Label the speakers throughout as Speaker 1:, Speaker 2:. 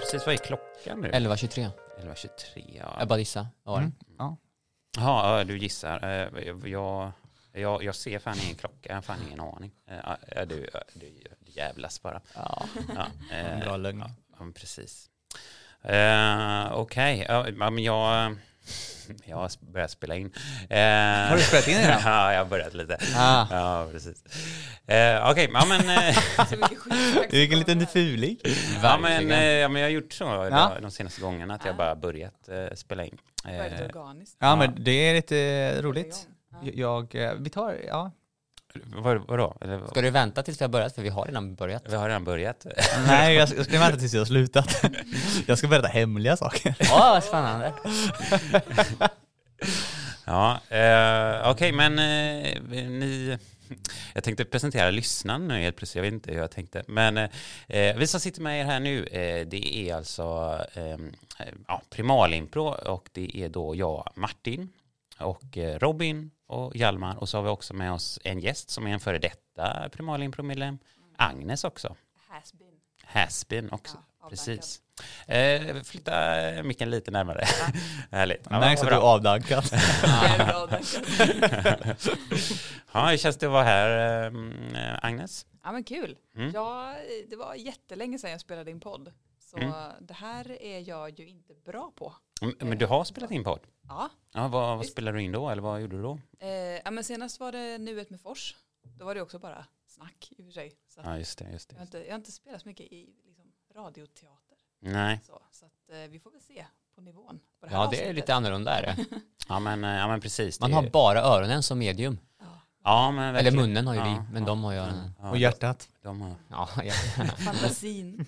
Speaker 1: precis. Vad är klockan nu?
Speaker 2: 11.23.
Speaker 1: 11.23.
Speaker 2: Jag
Speaker 1: Ja,
Speaker 2: bara gissar. Vad var det?
Speaker 3: Mm. Ja.
Speaker 1: Jaha, ja, du gissar. Eh, Jag, jag, jag ser fan ingen klocka. Jag har fan ingen aning. Eh, ja, Du, du, du jävlas bara.
Speaker 2: Ja.
Speaker 1: Ja,
Speaker 3: En
Speaker 1: eh,
Speaker 3: bra lögn.
Speaker 1: Ja, men precis. Eh, Okej, ja, ja, men jag, jag har börjat spela in. Eh,
Speaker 3: Har du spelat in redan?
Speaker 1: ja, jag har börjat lite.
Speaker 2: Ah.
Speaker 1: Ja, precis. Eh, Okej, ja, men, eh,
Speaker 4: Så mycket Alltså, skit.
Speaker 3: Vilken liten fuling.
Speaker 1: ja, men,
Speaker 2: Verkligen.
Speaker 1: eh, ja, men jag har gjort så
Speaker 3: Ja.
Speaker 1: de senaste gångerna att jag
Speaker 4: Ah.
Speaker 1: bara börjat eh, spela in. Eh,
Speaker 4: Väldigt organiskt.
Speaker 3: Ja, men det är lite roligt.
Speaker 4: Ja.
Speaker 3: Jag, eh, vi tar, ja.
Speaker 1: vad, vadå? Eller,
Speaker 2: Ska du vänta tills vi har börjat? För vi har redan börjat.
Speaker 1: vi har redan börjat.
Speaker 3: Nej, jag ska jag ska vänta tills jag har slutat. Jag ska berätta hemliga saker.
Speaker 2: Åh, vad spännande.
Speaker 1: Ja, eh, okej, men eh, ni... Jag tänkte presentera lyssnaren nu helt plötsligt, jag vet inte hur jag tänkte. Men eh, vi som sitter med er här nu, eh, det är alltså eh, ja, Primalimpro och det är då jag, Martin, och eh, Robin och Hjalmar och så har vi också med oss en gäst som är en före detta Primalimpro-medlem, Agnes också,
Speaker 4: Has been.
Speaker 1: Hasbin också.
Speaker 4: Ja, avdankad.
Speaker 1: Precis. Eh, flytta micken lite närmare. Härligt. Ja,
Speaker 3: Märks
Speaker 1: vad
Speaker 3: att du
Speaker 1: bra.
Speaker 3: är avdankad.
Speaker 4: Jävla avdankad.
Speaker 1: ja, hur känns det att vara här, ehm, eh, Agnes?
Speaker 4: Ja men kul.
Speaker 1: Mm.
Speaker 4: Ja, det var jättelänge sedan jag spelade in podd. Så
Speaker 1: Mm.
Speaker 4: det här är jag ju inte bra på.
Speaker 1: Mm, Men du har spelat in podd.
Speaker 4: Ja,
Speaker 1: Ja, vad, vad
Speaker 4: Visst.
Speaker 1: spelade du in då, eller vad gjorde du då?
Speaker 4: eh, ja men senast var det nuet med Fors. Då var det också bara snack i och för sig. Så att
Speaker 1: Ja, just det. Just
Speaker 4: jag, har
Speaker 1: det.
Speaker 4: inte, jag har inte spelat så mycket i liksom, radioteater.
Speaker 1: Nej,
Speaker 4: Så, så att, eh, vi får väl se på nivån. På här
Speaker 2: Ja, det är
Speaker 4: avsnittet.
Speaker 2: lite annorlunda är det.
Speaker 1: ja men, eh, ja, men precis.
Speaker 2: Man
Speaker 1: det-
Speaker 2: har bara öronen som medium.
Speaker 4: Ja.
Speaker 1: ja, men
Speaker 2: Eller
Speaker 1: verkligen.
Speaker 2: munnen har ju vi,
Speaker 1: Ja,
Speaker 2: men
Speaker 1: ja, Mm.
Speaker 2: de har ju
Speaker 1: ja,
Speaker 2: öronen.
Speaker 1: ja,
Speaker 3: Och hjärtat.
Speaker 1: de har-
Speaker 2: Ja, ja.
Speaker 4: Fantasin.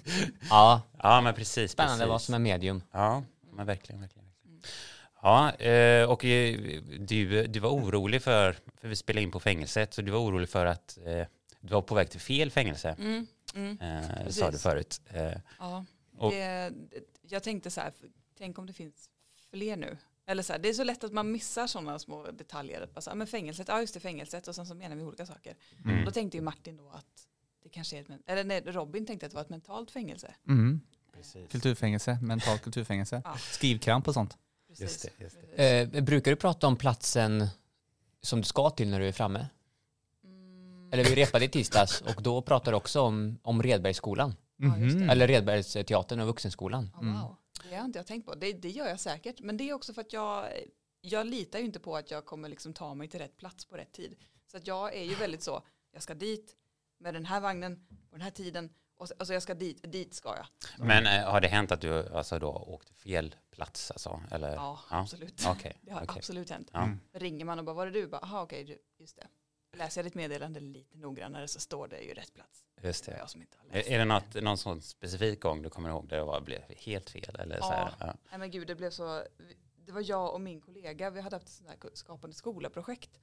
Speaker 2: ja
Speaker 1: Ja, men precis.
Speaker 2: spännande
Speaker 1: precis.
Speaker 2: vad som är medium.
Speaker 1: Ja, men verkligen. verkligen. verkligen. Ja, eh, och eh, du, du var orolig för, för vi spelade in på fängelset, så du var orolig för att eh, du var på väg till fel fängelse,
Speaker 4: Mm, mm,
Speaker 1: eh, sa
Speaker 4: precis.
Speaker 1: du förut.
Speaker 2: Mm.
Speaker 1: Eh,
Speaker 4: ja.
Speaker 1: Och-
Speaker 4: det, jag tänkte så här, tänk om det finns fler nu. Eller så här, det är så lätt att man missar sådana små detaljer. Att bara så här, "Ah, men fängelset, ja just det fängelset och sen så menar vi olika saker.
Speaker 1: Mm.
Speaker 4: Då tänkte ju Martin då att det kanske är ett, men- eller nej, Robin tänkte att det var ett mentalt fängelse.
Speaker 3: Mm.
Speaker 1: precis.
Speaker 3: Kulturfängelse, mentalt kulturfängelse.
Speaker 4: Ja.
Speaker 3: Skrivkramp och sånt.
Speaker 4: Precis.
Speaker 1: Just det, just det.
Speaker 4: Precis.
Speaker 2: Eh, brukar du prata om platsen som du ska till när du är framme?
Speaker 4: Mm,
Speaker 2: Eller vi repade i tisdags och då pratade du också om, om Redbergsskolan.
Speaker 4: Ja, just det.
Speaker 1: Mm.
Speaker 3: Mhm.
Speaker 2: Eller Redbergsteatern och Vuxenskolan.
Speaker 4: ja,
Speaker 3: Mm.
Speaker 4: wow. Det har inte jag tänkt på. Det, det gör jag säkert. Men det är också för att jag, jag litar ju inte på att jag kommer liksom ta mig till rätt plats på rätt tid. Så att jag är ju väldigt så, jag ska dit med den här vagnen på den här tiden. Och, så- alltså jag ska dit, dit ska jag.
Speaker 1: Men eh, har det hänt att du alltså, då åkte fel plats? Alltså, eller?
Speaker 4: Ja,
Speaker 1: Ja.
Speaker 4: absolut.
Speaker 1: Okej.
Speaker 4: Det har
Speaker 1: okej.
Speaker 4: absolut hänt.
Speaker 1: Ja.
Speaker 3: Mm.
Speaker 4: Ringer man och bara, var är du? Bara, Aha, okej, du- just det. Läser jag ditt meddelande lite noggrannare så står det ju rätt plats.
Speaker 1: Just
Speaker 4: Det var
Speaker 1: det.
Speaker 4: jag som inte har läst.
Speaker 1: Är är det något, någon sån specifik gång du kommer ihåg där det var, blev helt fel? Eller så här? Ja.
Speaker 4: Nej men gud, det blev så. Det var jag och min kollega, vi hade haft ett sånt här skapande skola-projekt.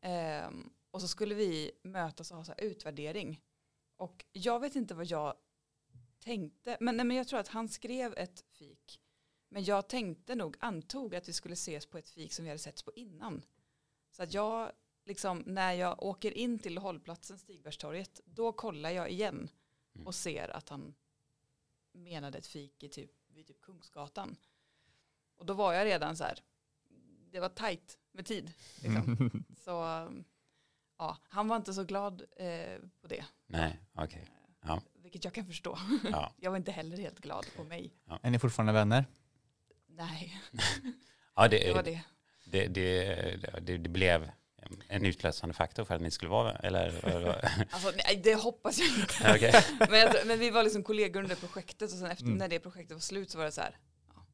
Speaker 4: Ehm, och så skulle vi mötas och ha så här utvärdering. Och jag vet inte vad jag tänkte, men, nej, men jag tror att han skrev ett fik. Men jag tänkte nog, antog att vi skulle ses på ett fik som vi hade setts på innan. Så att jag, liksom, när jag åker in till hållplatsen Stigbergstorget, då kollar jag igen
Speaker 1: Mm.
Speaker 4: och ser att han menade ett fik i typ, vid typ Kungsgatan. Och då var jag redan så här, det var tajt med tid. Liksom.
Speaker 3: Mhm.
Speaker 4: Så ja, han var inte så glad eh, på det,
Speaker 1: Nej, okej.
Speaker 4: vilket jag kan förstå.
Speaker 1: Ja.
Speaker 4: Jag var inte heller helt glad på mig.
Speaker 3: Är ni fortfarande vänner?
Speaker 4: Nej,
Speaker 1: Ja,
Speaker 4: det var
Speaker 1: det,
Speaker 4: det.
Speaker 1: det, det, det, det blev en utlösande faktor för att ni skulle vara eller? eller-
Speaker 4: Alltså, nej, det hoppas jag inte.
Speaker 1: okej.
Speaker 4: Men, jag, tror- men vi var liksom kollegor under projektet och sen efter,
Speaker 3: Mm.
Speaker 4: när det projektet var slut så var det så här, ja,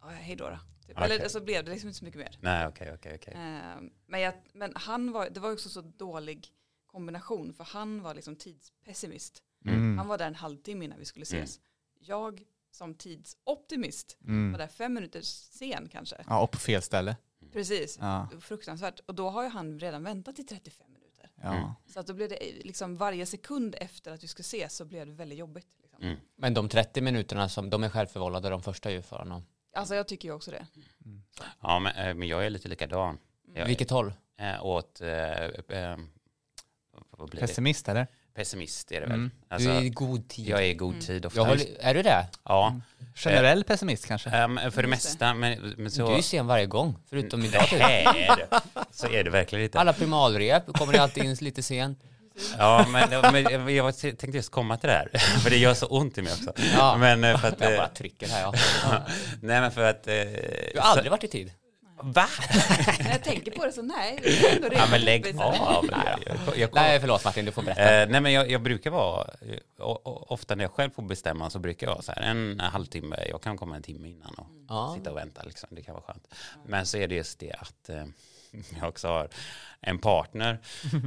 Speaker 4: ja hej då. då typ.
Speaker 1: Okej.
Speaker 4: Eller så blev det liksom inte så mycket mer.
Speaker 1: Nej, okej, okej, okej.
Speaker 4: Eh, Men, jag, men han var, det var också så dålig kombination för han var liksom tidspessimist.
Speaker 3: Mm.
Speaker 4: Han var där en halvtimme innan vi skulle
Speaker 1: Mm.
Speaker 4: ses. Jag som tidsoptimist var
Speaker 3: Mm.
Speaker 4: där fem minuter sen
Speaker 1: Mm.
Speaker 4: kanske.
Speaker 3: Ja, och på fel ställe.
Speaker 4: Precis,
Speaker 3: Ja.
Speaker 4: fruktansvärt. Och då har ju han redan väntat i 35 minuter.
Speaker 1: Mm.
Speaker 3: Ja.
Speaker 4: Så att då blev det liksom varje sekund efter att vi skulle ses så blev det väldigt jobbigt. Liksom.
Speaker 1: Mm.
Speaker 2: Men de 30 minuterna som de är självförvållade, de första är ju för honom.
Speaker 4: Alltså jag tycker ju också det.
Speaker 1: Ja, men, eh, men jag är lite likadan. Jag
Speaker 4: Mm.
Speaker 2: Vilket håll?
Speaker 1: eh, åt, eh, eh, vad blir det?
Speaker 3: Pessimist eller?
Speaker 1: pessimist är det väl.
Speaker 3: Mm.
Speaker 1: Alltså,
Speaker 2: du är i god tid.
Speaker 1: jag är i god
Speaker 4: Mm.
Speaker 1: tid
Speaker 2: Jag
Speaker 1: oftast.
Speaker 2: håller, är du det?
Speaker 1: Ja,
Speaker 3: Generell pessimist kanske?
Speaker 1: ehm, för det
Speaker 4: det.
Speaker 1: mesta. Men, men så... Mm.
Speaker 2: Du är ju sen varje gång, förutom idag. typ.
Speaker 1: Nej, det- så är det verkligen inte.
Speaker 2: Alla primalrep kommer det alltid in lite sen.
Speaker 1: Ja, men, men jag tänkte just komma till det här, för det gör så ont i mig också.
Speaker 2: Ja.
Speaker 1: Men, eh, för att,
Speaker 2: Jag
Speaker 1: eh,
Speaker 2: bara trycker här ja.
Speaker 1: nej, men för att... eh,
Speaker 2: Du har aldrig varit i tid.
Speaker 1: så- Va?
Speaker 4: När jag tänker på det så nej, det är ändå
Speaker 1: Ja, men
Speaker 4: rent
Speaker 1: lägg
Speaker 4: rättvisande.
Speaker 1: av. Jag, jag, jag,
Speaker 2: Nej förlåt Martin, du får berätta.
Speaker 1: Eh, nej men jag, jag brukar vara, eh, o- o- ofta när jag själv får bestämma så brukar jag vara så här en halvtimme, jag kan komma en timme innan och
Speaker 2: Mm. Ja.
Speaker 1: sitta och vänta liksom, det kan vara skönt. Men så är det just det att eh, jag också har en partner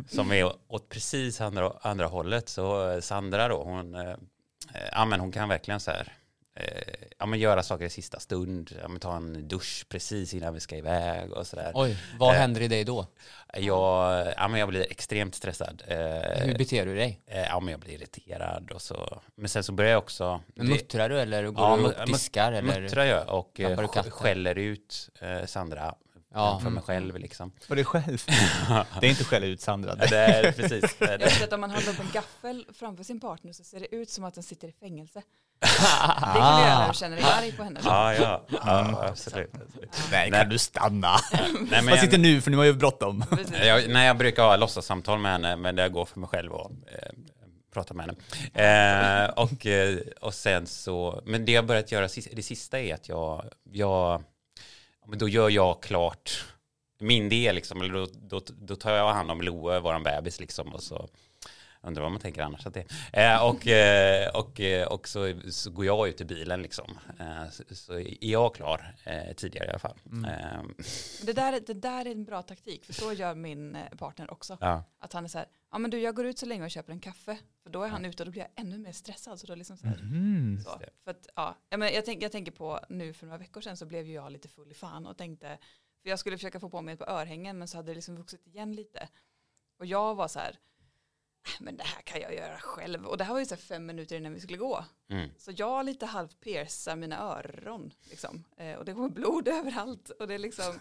Speaker 1: som är åt precis andra, andra hållet. Så eh, Sandra då, hon, eh, eh, ja, men hon kan verkligen så här, eh, ja, men göra saker i sista stund, ja, men ta en dusch precis innan vi ska iväg och sådär.
Speaker 2: Oj, vad
Speaker 1: eh,
Speaker 2: händer i dig då?
Speaker 1: Jag, ja, men jag blir extremt stressad. Eh,
Speaker 2: Hur beter du dig?
Speaker 1: Eh, ja, men jag blir irriterad och så. Men sen så börjar jag också... det-
Speaker 2: Muttrar du eller går
Speaker 1: Ja,
Speaker 2: du
Speaker 1: men-
Speaker 2: och diskar? Eller?
Speaker 1: Muttrar jag och eh,
Speaker 2: Klappar du
Speaker 1: sk-
Speaker 2: katten?
Speaker 1: skäller ut eh, Sandra
Speaker 2: Ja.
Speaker 1: för mig själv liksom.
Speaker 3: För dig själv? det är inte skälla ut Sandra.
Speaker 1: Ja,
Speaker 3: Det.
Speaker 1: det är precis. Det-
Speaker 4: Jag vet att om man håller upp en gaffel framför sin partner så ser det ut som att den sitter i fängelse. Det kan du göra när du känner dig arg på henne.
Speaker 1: Ja, ja, Mm. ja absolut.
Speaker 3: Nej,
Speaker 1: Nej.
Speaker 3: kan du stanna?
Speaker 1: Nej, men
Speaker 3: Vad sitter
Speaker 1: jag,
Speaker 3: nu för nu har jag ju bråttom.
Speaker 4: Precis.
Speaker 1: jag, nej, jag brukar ha låtsassamtal med henne, men det går för mig själv att eh, prata med henne. Eh, och, eh, och sen så, men det jag börjat göra, sis- det sista är att jag, jag ja, men då gör jag klart min del liksom, eller då, då, då tar jag hand om Loe, våran bebis liksom, och så undrar vad man tänker annars att det är. Eh, och, eh, och, eh, och så, så går jag ut i bilen liksom, eh, så, så är jag klar eh, tidigare i alla fall. Eh,
Speaker 4: Det, där, det där är en bra taktik, för så gör min eh, partner också.
Speaker 1: ja.
Speaker 4: Att han är så här, ja men du jag går ut så länge och köper en kaffe. För då är han ute och då blir jag ännu mer stressad. Så då liksom så här,
Speaker 3: Mm.
Speaker 4: så. För att, ja. Ja, men jag, tänk, jag tänker på nu för några veckor sedan så blev ju jag lite full i fan och tänkte, för jag skulle försöka få på mig ett par örhängen men så hade det liksom vuxit igen lite. Och jag var så här, "Äh, men det här kan jag göra själv. Och det här var ju så här fem minuter innan vi skulle gå.
Speaker 1: Mm.
Speaker 4: Så jag lite halvt piercar mina öron. Liksom. Eh, och det går blod överallt. Och det, liksom,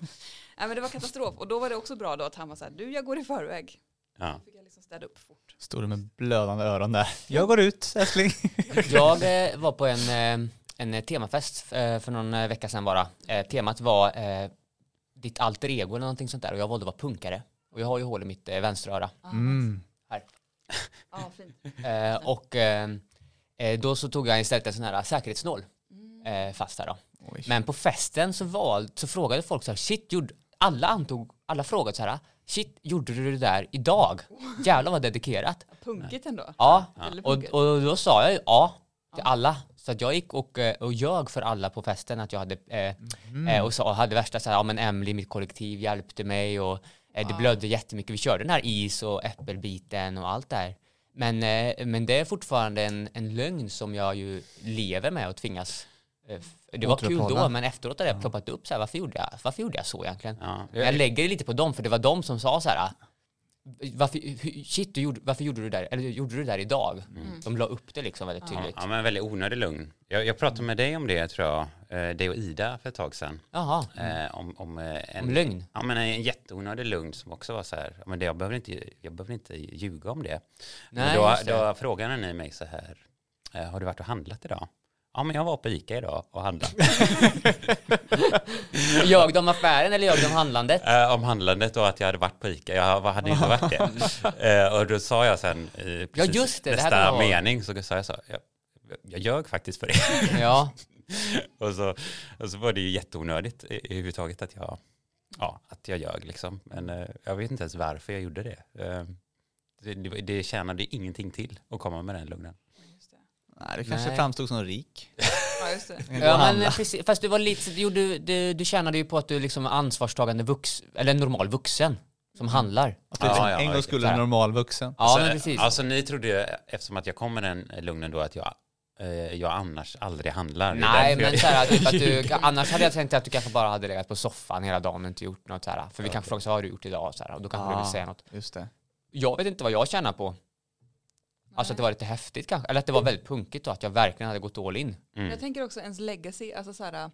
Speaker 4: nej, men det var katastrof. Och då var det också bra då att han var så här, du jag går i förväg.
Speaker 1: Ja.
Speaker 4: Fick jag liksom städa upp fort.
Speaker 3: Står du med blödande öron där. Jag går ut älskling.
Speaker 2: Jag eh, var på en, eh, en eh, temafest eh, för någon eh, vecka sedan bara. Eh, temat var eh, ditt alter ego eller någonting sånt där och jag valde att vara punkare. Och jag har ju hål i mitt eh, vänstra öra.
Speaker 4: Ah,
Speaker 3: Mm.
Speaker 4: ja, fint.
Speaker 2: Eh, och eh, eh, då så tog jag istället en sån här säkerhetsnål
Speaker 4: Mm.
Speaker 2: eh, fast där då.
Speaker 3: Oj.
Speaker 2: Men på festen så, val, så frågade folk så här, shit, gjorde, alla antog, alla frågade så här, shit, gjorde du det där idag? Jävlar vad dedikerat.
Speaker 4: Punkigt ändå.
Speaker 2: Ja,
Speaker 4: Väldigt
Speaker 2: och,
Speaker 4: punkigt.
Speaker 2: och då sa jag ju ja till alla. Så att jag gick och, eh, och ljög för alla på festen att jag hade, eh, eh, och sa, hade värsta så här, ja men Emily, mitt kollektiv hjälpte mig och eh, det blödde jättemycket. Vi körde den här is och äppelbiten och allt där. Men, eh, men det är fortfarande en, en lögn som jag ju lever med och tvingas eh, f- det var kul då,
Speaker 3: Återupphålla.
Speaker 2: men efteråt har det ploppat upp så här, varför gjorde jag, varför gjorde jag så egentligen?
Speaker 1: Ja.
Speaker 2: Men jag lägger det lite på dem, för det var de som sa så här, "Ah, varför, hu- shit, du gjorde, varför gjorde du det där, eller gjorde du det där idag? De la upp det liksom väldigt
Speaker 1: Mm. Ja,
Speaker 2: tydligt.
Speaker 1: ja, men väldigt onödig lugn. Jag, jag pratade med dig om det tror jag, eh, dig och Ida för ett tag sedan.
Speaker 2: Jaha,
Speaker 1: Eh, om, om, eh, en,
Speaker 2: Mm. om lögn.
Speaker 1: Ja, men en jätteonödig lugn som också var så här, ja, men det, jag, behöver inte, jag behöver inte ljuga om det.
Speaker 2: Nej,
Speaker 1: men då,
Speaker 2: just det.
Speaker 1: då frågade ni mig så här, eh, har du varit och handlat idag? Ja, men jag var på Ica idag och handlade.
Speaker 2: Ljög de om affären eller ljög de om handlandet?
Speaker 1: Eh, om handlandet och att jag hade varit på Ica, jag var- hade inte varit det. Eh, och då sa jag sen, eh, precis
Speaker 2: just det, det här
Speaker 1: nästa
Speaker 2: var-
Speaker 1: mening, så sa jag så här, jag, jag ljög faktiskt för det.
Speaker 2: Ja,
Speaker 1: Och så, och så var det ju jätteonödigt i- i huvud taget att jag, ja, att jag ljög liksom. Men eh, jag vet inte ens varför jag gjorde det. Eh, det, det, det tjänade ingenting till att komma med den lugnen.
Speaker 4: Just det.
Speaker 3: Nej, det kanske
Speaker 2: Nej.
Speaker 3: framstod som rik.
Speaker 4: Ja, just det.
Speaker 2: ja men precis, fast du var lite, jo, du, du, du tjänade ju på att du liksom var ansvarstagande vux, eller en normal vuxen som handlar.
Speaker 1: Ja, ja,
Speaker 3: en gång skulle
Speaker 2: så här.
Speaker 3: en normal vuxen.
Speaker 2: Ja
Speaker 1: alltså,
Speaker 2: men precis.
Speaker 1: Alltså ni trodde, ju, eftersom att jag kom med den lugnen då, att jag, eh, jag annars aldrig handlar. Det är
Speaker 2: Nej
Speaker 1: därför jag-
Speaker 2: men såhär, typ att du, annars hade jag tänkt att du kanske bara hade legat på soffan hela dagen och inte gjort något såhär. För vi kanske frågar så här, vad har du gjort idag? Såhär, och då kanske du
Speaker 3: Ah.
Speaker 2: vill säga något.
Speaker 3: Just det.
Speaker 2: Jag vet inte vad jag tjänar på. Alltså att det var lite häftigt kanske, eller att det var väldigt punkigt och att jag verkligen hade gått all in.
Speaker 1: Mm,
Speaker 4: Jag tänker också ens legacy, alltså så här,
Speaker 2: Ens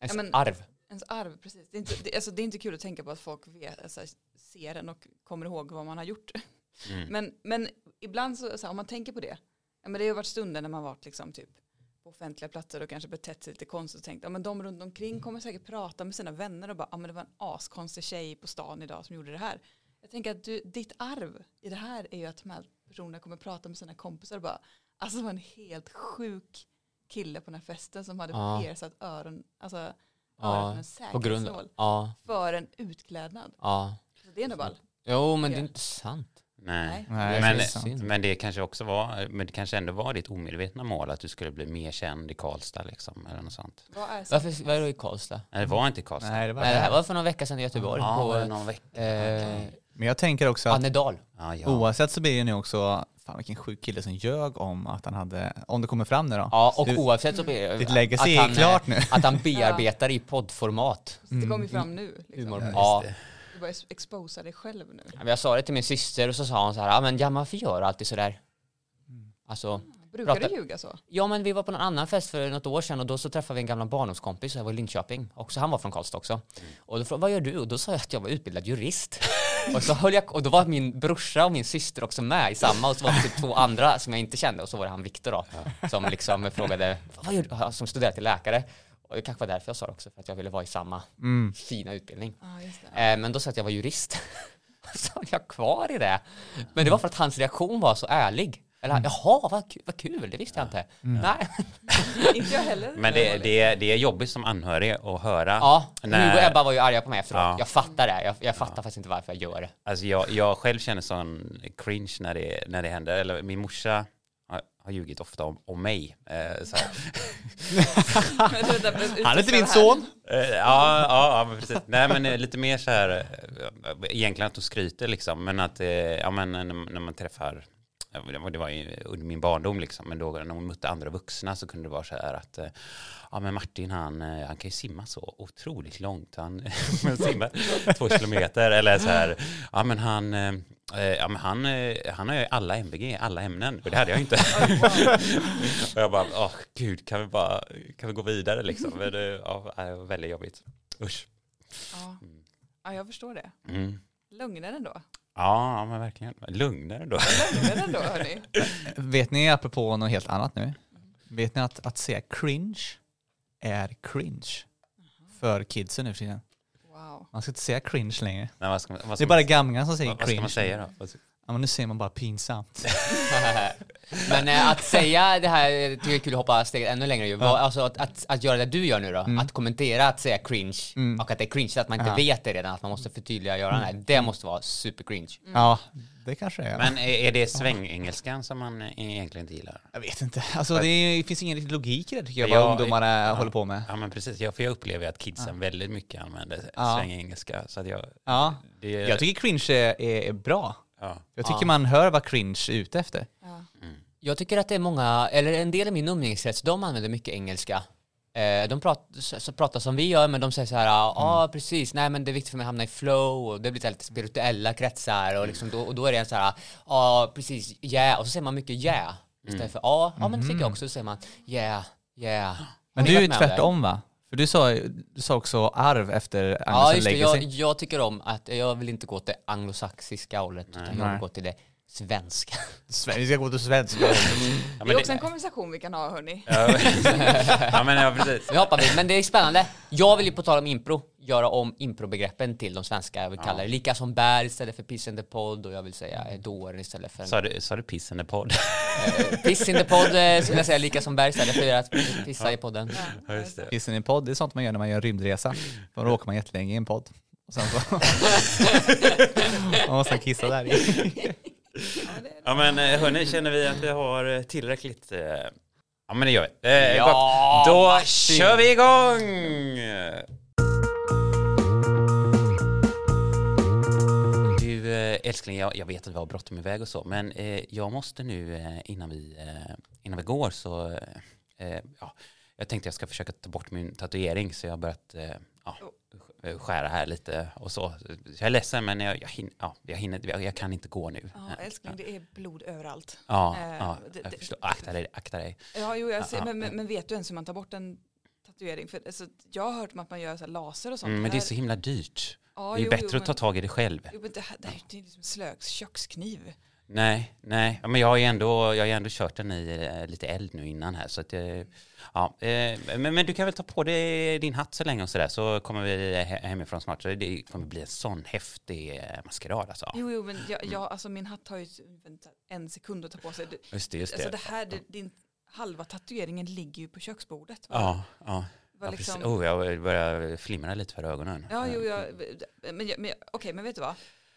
Speaker 4: Ja, men-
Speaker 2: arv.
Speaker 4: ens arv, precis. Det är, inte, det, alltså, det är inte kul att tänka på att folk vet, alltså, ser en och kommer ihåg vad man har gjort.
Speaker 1: Mm.
Speaker 4: Men, men ibland så, så här, om man tänker på det, ja, men det har varit stunder när man varit liksom typ på offentliga platser och kanske betett sig lite konstigt och tänkt, ja men de runt omkring kommer säkert prata med sina vänner och bara, ja men det var en askonstig tjej på stan idag som gjorde det här. Jag tänker att du, ditt arv i det här är ju att de här personerna kommer prata med sina kompisar och bara, alltså det var en helt sjuk kille på den här festen som hade
Speaker 2: Ja.
Speaker 4: piercat öron, alltså öronen
Speaker 2: Ja,
Speaker 4: med en
Speaker 2: På grund
Speaker 4: säkerhetsnål
Speaker 2: av... Ja,
Speaker 4: för en utklädnad.
Speaker 2: ja.
Speaker 4: Så det är nog ball.
Speaker 2: Jo, men det är
Speaker 4: Ja.
Speaker 2: inte sant.
Speaker 1: Nej.
Speaker 3: Nej,
Speaker 1: Men-
Speaker 3: det är sant.
Speaker 1: Men det kanske också var, men det kanske ändå var ditt omedvetna mål att du skulle bli mer känd i Karlstad liksom, eller något sånt.
Speaker 4: Vad är sant?
Speaker 2: Varför, vad är det i Karlstad?
Speaker 1: Nej, det var inte i Karlstad.
Speaker 3: Nej, det var
Speaker 2: Nej, det här
Speaker 3: det.
Speaker 2: var för någon vecka sedan i Göteborg.
Speaker 1: Ja,
Speaker 2: på,
Speaker 1: var det någon vecka?
Speaker 2: eh,
Speaker 3: Men jag tänker också att
Speaker 2: Annedal.
Speaker 1: Ja, ja.
Speaker 2: Oh,
Speaker 3: oavsett så blir det nu också, fan vilken sjuk kille som ljög om att han hade, om det kommer fram nu då.
Speaker 2: Ja, och
Speaker 3: Du-
Speaker 2: oavsett så blir det...
Speaker 3: Ditt legacy
Speaker 2: att
Speaker 3: är
Speaker 2: han,
Speaker 3: klart nu.
Speaker 2: eh, Att han bearbetar i poddformat.
Speaker 4: Det kom ju fram nu.
Speaker 2: Humor.
Speaker 4: Liksom.
Speaker 2: Ja.
Speaker 4: Du bara exposa dig själv nu.
Speaker 2: Men Jag sa det till min syster och så sa hon så här, ja men Jamma, varför gör du alltid sådär? Alltså,
Speaker 4: Brukar
Speaker 2: Prata-
Speaker 4: du ljuga så?
Speaker 2: ja men vi var på någon annan fest för något år sedan och då så träffade vi en gammal barndomskompis, jag var i Linköping, också han var från Karlstad också. Och då frågade vad gör du? Och då sa jag att jag var utbildad jurist. och, så höll jag, och då var min brorsa och min syster också med i samma och så var det typ två andra som jag inte kände och så var det han Viktor då, som liksom frågade, vad gör du? Ja, Som studerade till läkare. Och det kanske var därför jag sa det också, för att jag ville vara i samma
Speaker 3: Mm.
Speaker 2: fina utbildning.
Speaker 4: Ja, just det.
Speaker 2: Eh, men då sa jag att jag var jurist. så var jag kvar i det. Men det var för att hans reaktion var så ärlig. Eller
Speaker 3: Mm.
Speaker 2: han, jaha, vad, ku- vad kul, det visste jag inte. Nej.
Speaker 4: Inte jag heller.
Speaker 1: Men det, det, det är jobbigt som anhörig att höra.
Speaker 2: Ja,
Speaker 1: Nej.
Speaker 2: Hugo och Ebba var ju arga på mig efteråt.
Speaker 1: Ja.
Speaker 2: Jag fattar det. Jag, jag fattar faktiskt inte varför jag gör det.
Speaker 1: Alltså jag, jag själv känner sån cringe när det, när det händer. Eller min morsa har, har ljugit ofta om, om mig. Eh, så här.
Speaker 3: Han är inte min son.
Speaker 1: Eh, ja, ja, ja, men precis. Nej, men eh, lite mer så här, eh, egentligen att hon skryter liksom, men att, eh, ja men eh, när, när man träffar, ja, men det var- det var ju under min barndom liksom, men då när hon mötte andra vuxna så kunde det vara så här att, eh, ja men Martin han, eh, han kan ju simma så otroligt långt, han men simmar två kilometer eller så här, ja men han, eh, eh, ja, men han, eh, han har ju alla MBG, alla ämnen, och det hade jag ju inte. Och jag bara, åh gud, kan vi bara, kan vi gå vidare liksom? Men det ja, det var väldigt jobbigt. Usch.
Speaker 4: Ja. ja, jag förstår det.
Speaker 1: Mm.
Speaker 4: Lugnare ändå.
Speaker 1: Ja, men verkligen. Lugnare då.
Speaker 4: Lugnare ändå, hörni.
Speaker 3: Vet ni, apropå något helt annat nu, vet ni att, att säga cringe är cringe för kidsen nu för tiden?
Speaker 4: Wow.
Speaker 3: Man ska inte säga cringe längre.
Speaker 1: Nej, vad ska man, Alltså, vad
Speaker 3: Det
Speaker 1: ska
Speaker 3: är bara
Speaker 1: man,
Speaker 3: gamla som säger
Speaker 1: vad, vad ska
Speaker 3: cringe.
Speaker 1: man säga då? Vad ska-
Speaker 3: Ja, men nu säger man bara pinsamt.
Speaker 2: men eh, att säga det här, eh, tycker jag är kul att hoppa steget ännu längre ju. Vad- Alltså att, att, att göra det du gör nu då, att kommentera, att säga cringe
Speaker 3: Mm.
Speaker 2: och att det är cringe, att man inte
Speaker 3: Ja. Mm.
Speaker 2: vet det redan, att man måste förtydliga och göra det här. Det måste vara super cringe.
Speaker 3: Ja, det kanske det är.
Speaker 1: Men är är det svängengelskan som man eh, egentligen inte gillar?
Speaker 3: jag vet inte. Alltså, det, är, det finns ingen riktig logik i det tycker jag,
Speaker 1: Jag-
Speaker 3: vad ungdomarna håller på med.
Speaker 1: Ja, men precis. Jag, för jag upplever ju att kidsen väldigt mycket använder
Speaker 3: Ja.
Speaker 1: svängengelska. Så att jag,
Speaker 3: Ja.
Speaker 1: det,
Speaker 3: Jag tycker cringe är, är, är bra.
Speaker 1: Eh. ja.
Speaker 3: Jag tycker
Speaker 2: Ja.
Speaker 3: man hör vad cringe är ute efter.
Speaker 4: Ja.
Speaker 2: Jag tycker att det är många, eller en del i min umgängeskrets, de använder mycket engelska. Eh, De pratar, så, så pratar som vi gör, men de säger så här, ja ah,
Speaker 3: Mm.
Speaker 2: precis, nej men det är viktigt för mig att hamna i flow, och det blir så här lite spirituella kretsar, och, liksom, då, och då är det en så här, ja ah, precis, yeah, och så säger man mycket yeah,
Speaker 3: Mm.
Speaker 2: istället för ja, ah, ja men det tycker jag också, så säger man yeah, yeah.
Speaker 3: Men
Speaker 2: Har ni
Speaker 3: du
Speaker 2: varit
Speaker 3: är
Speaker 2: med om det?
Speaker 3: tvärtom va? För du sa, du sa också arv efter
Speaker 2: Ja
Speaker 3: Agnes
Speaker 2: just det, jag,
Speaker 3: Legacy.
Speaker 2: jag tycker om att, jag vill inte gå till anglosaxiska hållet, utan jag vill
Speaker 3: Nej.
Speaker 2: gå till det svenska.
Speaker 3: Sve- Vi ska gå till svenska.
Speaker 1: Ja,
Speaker 4: Det
Speaker 1: men
Speaker 4: är
Speaker 1: det-
Speaker 4: också en konversation vi kan ha, hörni.
Speaker 1: ja, men ja, precis.
Speaker 2: Vi hoppar vidare, men det är spännande. Jag vill ju på tal om impro, göra om improbegreppen till de svenska, jag vill kalla det. Lika som bär istället för piss in the pod och jag vill säga
Speaker 1: Mm.
Speaker 2: eh, dåren istället för
Speaker 1: Sa du, sa du piss in the pod?
Speaker 2: eh, piss in the pod eh, skulle jag säga lika som bär istället för att pissa i podden.
Speaker 1: Ja, just det.
Speaker 3: Finns det en podd? Det är sånt man gör när man gör en rymdresa. Då åker man jättelänge i en podd. Och sen så... man måste kissa där i.
Speaker 4: Ja, det är
Speaker 1: Ja men eh, hörni, känner vi att vi har eh, tillräckligt? eh, Ja men det gör vi. Eh,
Speaker 2: Ja,
Speaker 1: gott. Då
Speaker 2: Martin.
Speaker 1: kör vi igång! Du eh, älskling, jag, jag vet att vi har bråttom iväg och så, men eh, jag måste nu eh, innan vi, eh, innan vi går så, eh, eh, ja, jag tänkte jag ska försöka ta bort min tatuering så jag har börjat eh, ja, sk- skära här lite och så. Så Jag är ledsen men jag, jag, hinner, ja, jag, hinner, jag, jag kan inte gå nu.
Speaker 4: Ja, älskling, det är blod överallt.
Speaker 1: Ja,
Speaker 4: Eh,
Speaker 1: ja
Speaker 4: det-
Speaker 1: jag
Speaker 4: det-
Speaker 1: förstår. Akta dig, akta dig.
Speaker 4: Ja, jo, jag
Speaker 1: Ja,
Speaker 4: ser,
Speaker 1: ja.
Speaker 4: men, men, men vet du ens hur man tar bort en tatuering? För, alltså, jag har hört om att man gör så här laser och sånt.
Speaker 1: Mm, men det är
Speaker 4: här-
Speaker 1: så himla dyrt.
Speaker 4: Ja,
Speaker 1: Det är ju
Speaker 4: jo,
Speaker 1: bättre
Speaker 4: jo,
Speaker 1: att ta
Speaker 4: men-
Speaker 1: tag i det själv.
Speaker 4: Jo, men det, här, det här är ju liksom slöks kökskniv.
Speaker 1: Nej, nej. Ja, men jag har ju ändå, jag har ju ändå kört den i eh, lite eld nu innan här. Så att, eh, ja, eh, men, men du kan väl ta på dig din hatt så länge och sådär så kommer vi he- hemifrån snart. Så det kommer bli en sån häftig eh, maskerad alltså.
Speaker 4: Jo, jo, men jag, jag, alltså min hatt har ju ungefär en sekund att ta på sig. Du,
Speaker 1: Just det, just
Speaker 4: alltså
Speaker 1: det.
Speaker 4: det här, det, din halva tatueringen ligger ju på köksbordet. va?
Speaker 1: Ja, ja.
Speaker 4: Det var
Speaker 1: ja
Speaker 4: liksom-
Speaker 1: precis. Oh, Mm. jag börjar flimra lite för ögonen.
Speaker 4: Ja, jo, jag, men, jag- men, jag- okej, men vet du vad?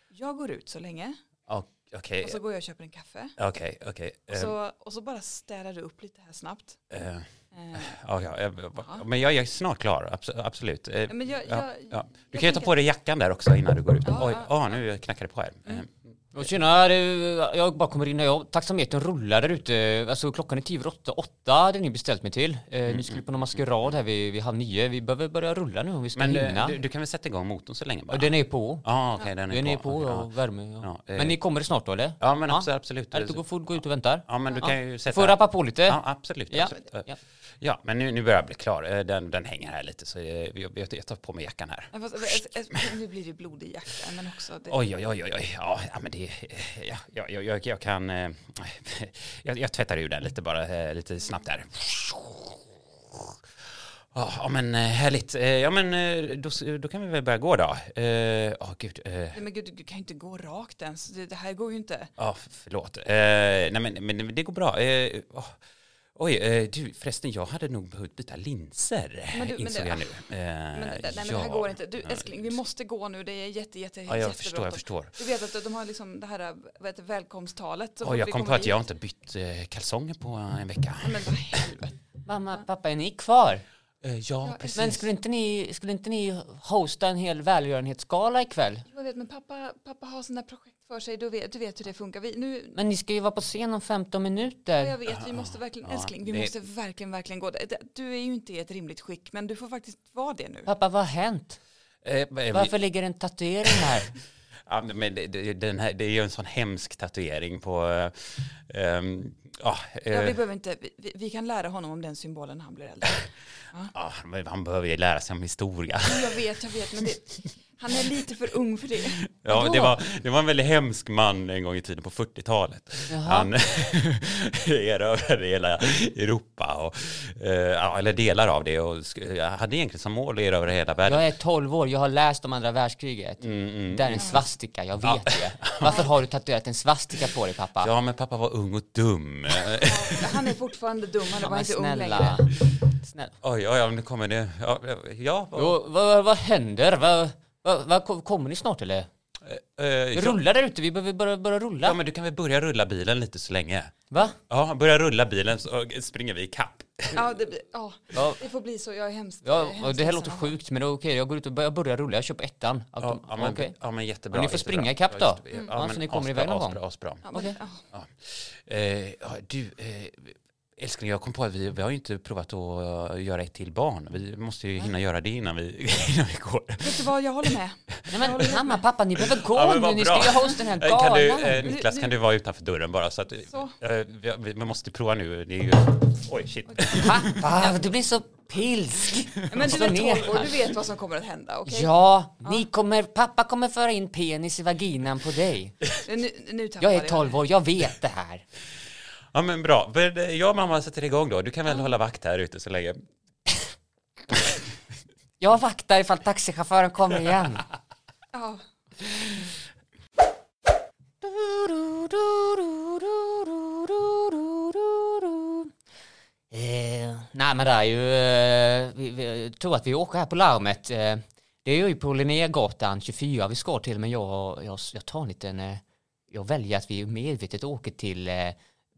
Speaker 4: Jag går ut så länge
Speaker 1: Ja, Eh, Okej,
Speaker 4: och så går jag och köper en kaffe.
Speaker 1: okej, okej.
Speaker 4: Och
Speaker 1: Eh,
Speaker 4: så, och så bara städar du upp lite här snabbt.
Speaker 1: eh,
Speaker 4: Eh,
Speaker 1: Ja, ja, jag- jag- men jag jag är snart klar, abso- absolut. Eh,
Speaker 4: men jag,
Speaker 1: ja,
Speaker 4: jag,
Speaker 1: ja. Du
Speaker 4: jag
Speaker 1: kan ju ta
Speaker 4: tänker-
Speaker 1: på dig jackan där också innan du går ut.
Speaker 4: Ja,
Speaker 1: Oj,
Speaker 4: ja,
Speaker 1: ah, nu knackar det på här. Eh,
Speaker 2: Och tjenare, jag bara kommer in och jag, taxametern rullar där ute. Alltså klockan är tio över åtta, åtta hade ni beställt mig till. Eh, ni
Speaker 1: Mm.
Speaker 2: skulle på någon maskerad här vid, vid halv nio. Vi behöver börja rulla nu om vi ska
Speaker 1: Men eh,
Speaker 2: hinna.
Speaker 1: du, du kan väl sätta igång motorn så länge bara?
Speaker 2: Och den är på.
Speaker 1: Ja, okej, den är
Speaker 2: den är på,
Speaker 1: Okej,
Speaker 2: ja, värme. Ja.
Speaker 1: Ja, eh.
Speaker 2: men ni kommer snart då eller?
Speaker 1: ja. ja, men
Speaker 2: Ja.
Speaker 1: Också, absolut.
Speaker 2: Är det gå, får gå ut och vänta.
Speaker 1: Ja, men du kan ju sätta...
Speaker 2: Får rappa på lite.
Speaker 1: Ja, absolut.
Speaker 2: Ja.
Speaker 1: absolut. Eh,
Speaker 2: Ja.
Speaker 1: Ja, men nu, nu börjar jag bli klar. Eh, Den, den hänger här lite, så eh, jag, jag, jag tar på mig jackan här.
Speaker 4: Ja, fast, eh, eh, nu blir det blod i jackan, men också... Det,
Speaker 1: Oj, oj, oj, oj, oj. Ja, ja, men det... eh, Ja, jag, jag, jag, jag kan... eh, Jag, jag tvättar ur den lite bara, eh, lite snabbt där. Ja, ja, men eh, härligt. Eh, Ja, men eh, då, då kan vi väl börja gå då. Eh, Ja, gud. eh,
Speaker 4: Nej, men gud, du kan ju inte gå rakt ens. Det, det här går ju inte.
Speaker 1: Ja, f- förlåt. Eh, nej, men, men det går bra. Eh, åh. Oj, eh, du förresten, jag hade nog behövt byta linser,
Speaker 4: Men du- men
Speaker 1: insåg
Speaker 4: du-
Speaker 1: jag nu. Eh,
Speaker 4: Men, det- nej, men
Speaker 1: ja.
Speaker 4: det här går inte. Du, älskling, vi
Speaker 1: just-
Speaker 4: måste gå nu. Det är jätte, jätte,
Speaker 1: Ja, jag
Speaker 4: jättebråttom.
Speaker 1: förstår, jag förstår.
Speaker 4: Du vet att de har liksom det här vad heter, välkomsttalet. så
Speaker 1: Oj,
Speaker 4: fort
Speaker 1: jag
Speaker 4: vi
Speaker 1: kom på
Speaker 4: kommer
Speaker 1: att jag
Speaker 4: dit.
Speaker 1: inte bytt eh, kalsonger på en vecka.
Speaker 4: Nej, Men vad helvete.
Speaker 2: Mamma, pappa, är ni kvar?
Speaker 1: Eh, ja, precis.
Speaker 2: Men skulle inte ni, skulle inte ni hosta en hel välgörenhetsgala ikväll?
Speaker 4: Jag vet, men pappa, pappa har sina projekt för sig. Du vet, du vet hur det funkar. Vi, nu,
Speaker 2: Men ni ska ju vara på scen om 15 minuter.
Speaker 4: Ja, jag vet, vi måste verkligen,
Speaker 1: Ja,
Speaker 4: älskling, vi
Speaker 1: det-
Speaker 4: måste verkligen, verkligen gå. Det- det- Du är ju inte i ett rimligt skick, men du får faktiskt vara det nu.
Speaker 2: Pappa, vad har hänt?
Speaker 1: Eh, men-
Speaker 2: Varför ligger en tatuering här?
Speaker 1: Ja, men det, det, den här, det är ju en sån hemsk tatuering på... Eh, ehm, ja, eh,
Speaker 4: Ja, vi, behöver inte, vi- vi, vi kan lära honom om den symbolen när han blir äldre.
Speaker 1: ja, ah, men han behöver ju lära sig om historia.
Speaker 4: Jag vet, jag vet, men det, han är lite för ung för det.
Speaker 1: Ja,
Speaker 2: Vadå?
Speaker 1: det var, det var en väldigt hemsk man en gång i tiden på 40-talet.
Speaker 2: Jaha.
Speaker 1: Han erövrade hela Europa, och, eh, ja, eller delar av det, och sk- jag hade egentligen som mål att erövra hela världen.
Speaker 2: Jag är 12 år, jag har läst om andra världskriget. det är en svastika, jag vet det. Varför har du tatuerat en svastika på dig pappa?
Speaker 1: Ja, men pappa var ung och dum. Eh,
Speaker 4: Han är fortfarande dum, han är
Speaker 2: Ja,
Speaker 4: bara
Speaker 2: men
Speaker 4: inte ung
Speaker 2: snälla.
Speaker 4: längre.
Speaker 2: snälla.
Speaker 1: Oj, oj, oj, nu kommer det. Ja, ja, vad-
Speaker 2: Jo, vad, vad händer? Vad, vad, vad, kom- kommer ni snart eller?
Speaker 1: eh, ja,
Speaker 2: Rulla där ute, vi behöver börja, börja rulla.
Speaker 1: ja, men du kan väl börja rulla bilen lite så länge.
Speaker 2: Va?
Speaker 1: Ja, börja rulla bilen så eh, springer vi i kapp.
Speaker 4: Ja, det, blir- ja,
Speaker 2: Ja.
Speaker 4: det får bli så, jag är hemskt jag är
Speaker 2: Ja,
Speaker 4: hemskt
Speaker 2: och det liksom. här
Speaker 4: ledsen.
Speaker 2: låter sjukt men det är okej, jag går ut och börjar, börjar rulla, jag köper ettan.
Speaker 1: Ja,
Speaker 2: Autom-
Speaker 1: ja, men,
Speaker 2: okej.
Speaker 1: ja, men jättebra.
Speaker 2: Ja, ni får
Speaker 1: jättebra.
Speaker 2: springa ikapp då.
Speaker 1: Ja, just det.
Speaker 2: Mm. Ja, så ni kommer iväg någon gång.
Speaker 1: Asbra, asbra.
Speaker 4: Ja, men,
Speaker 2: Okej.
Speaker 4: ja.
Speaker 1: Eh, ja, du, eh, älskling, jag kom på att vi, vi har ju inte provat att eh, göra ett till barn. Vi måste ju hinna göra det innan vi, innan vi går.
Speaker 4: Vet du vad, jag håller med.
Speaker 2: Nej men mamma, pappa, ni behöver gå
Speaker 1: Ja, men
Speaker 2: nu,
Speaker 1: vad
Speaker 2: ni
Speaker 1: bra.
Speaker 2: ska ju hosta den här galan.
Speaker 1: Kan du, eh, Niklas,
Speaker 4: Nu-
Speaker 1: kan du vara utanför dörren bara? Så att,
Speaker 4: Så.
Speaker 1: Eh, vi, vi måste prova nu. Det är ju... Oj, shit.
Speaker 2: Pappa, Ah, du blir så pilsk.
Speaker 4: Men du
Speaker 2: Slå
Speaker 4: är
Speaker 2: ner
Speaker 4: 12 år,
Speaker 2: här.
Speaker 4: du vet vad som kommer att hända, okej?
Speaker 2: Ja, ni kommer, pappa kommer föra in penis i vaginan på dig.
Speaker 4: Nu, nu tappar
Speaker 2: Jag är 12 år, jag vet det här.
Speaker 1: Ja, men bra. Men, eh, Jag och mamma sätter igång då. Du kan väl hålla vakt här ute så länge.
Speaker 2: Jag vaktar ifall taxichauffören kommer igen.
Speaker 4: Ja.
Speaker 2: Eh, nej men det är ju, eh, vi, vi, jag tror att vi åker här på larmet. Eh, det är ju på Linnégatan 24 vi ska till men jag, jag, jag tar en liten, eh, jag väljer att vi medvetet åker till eh,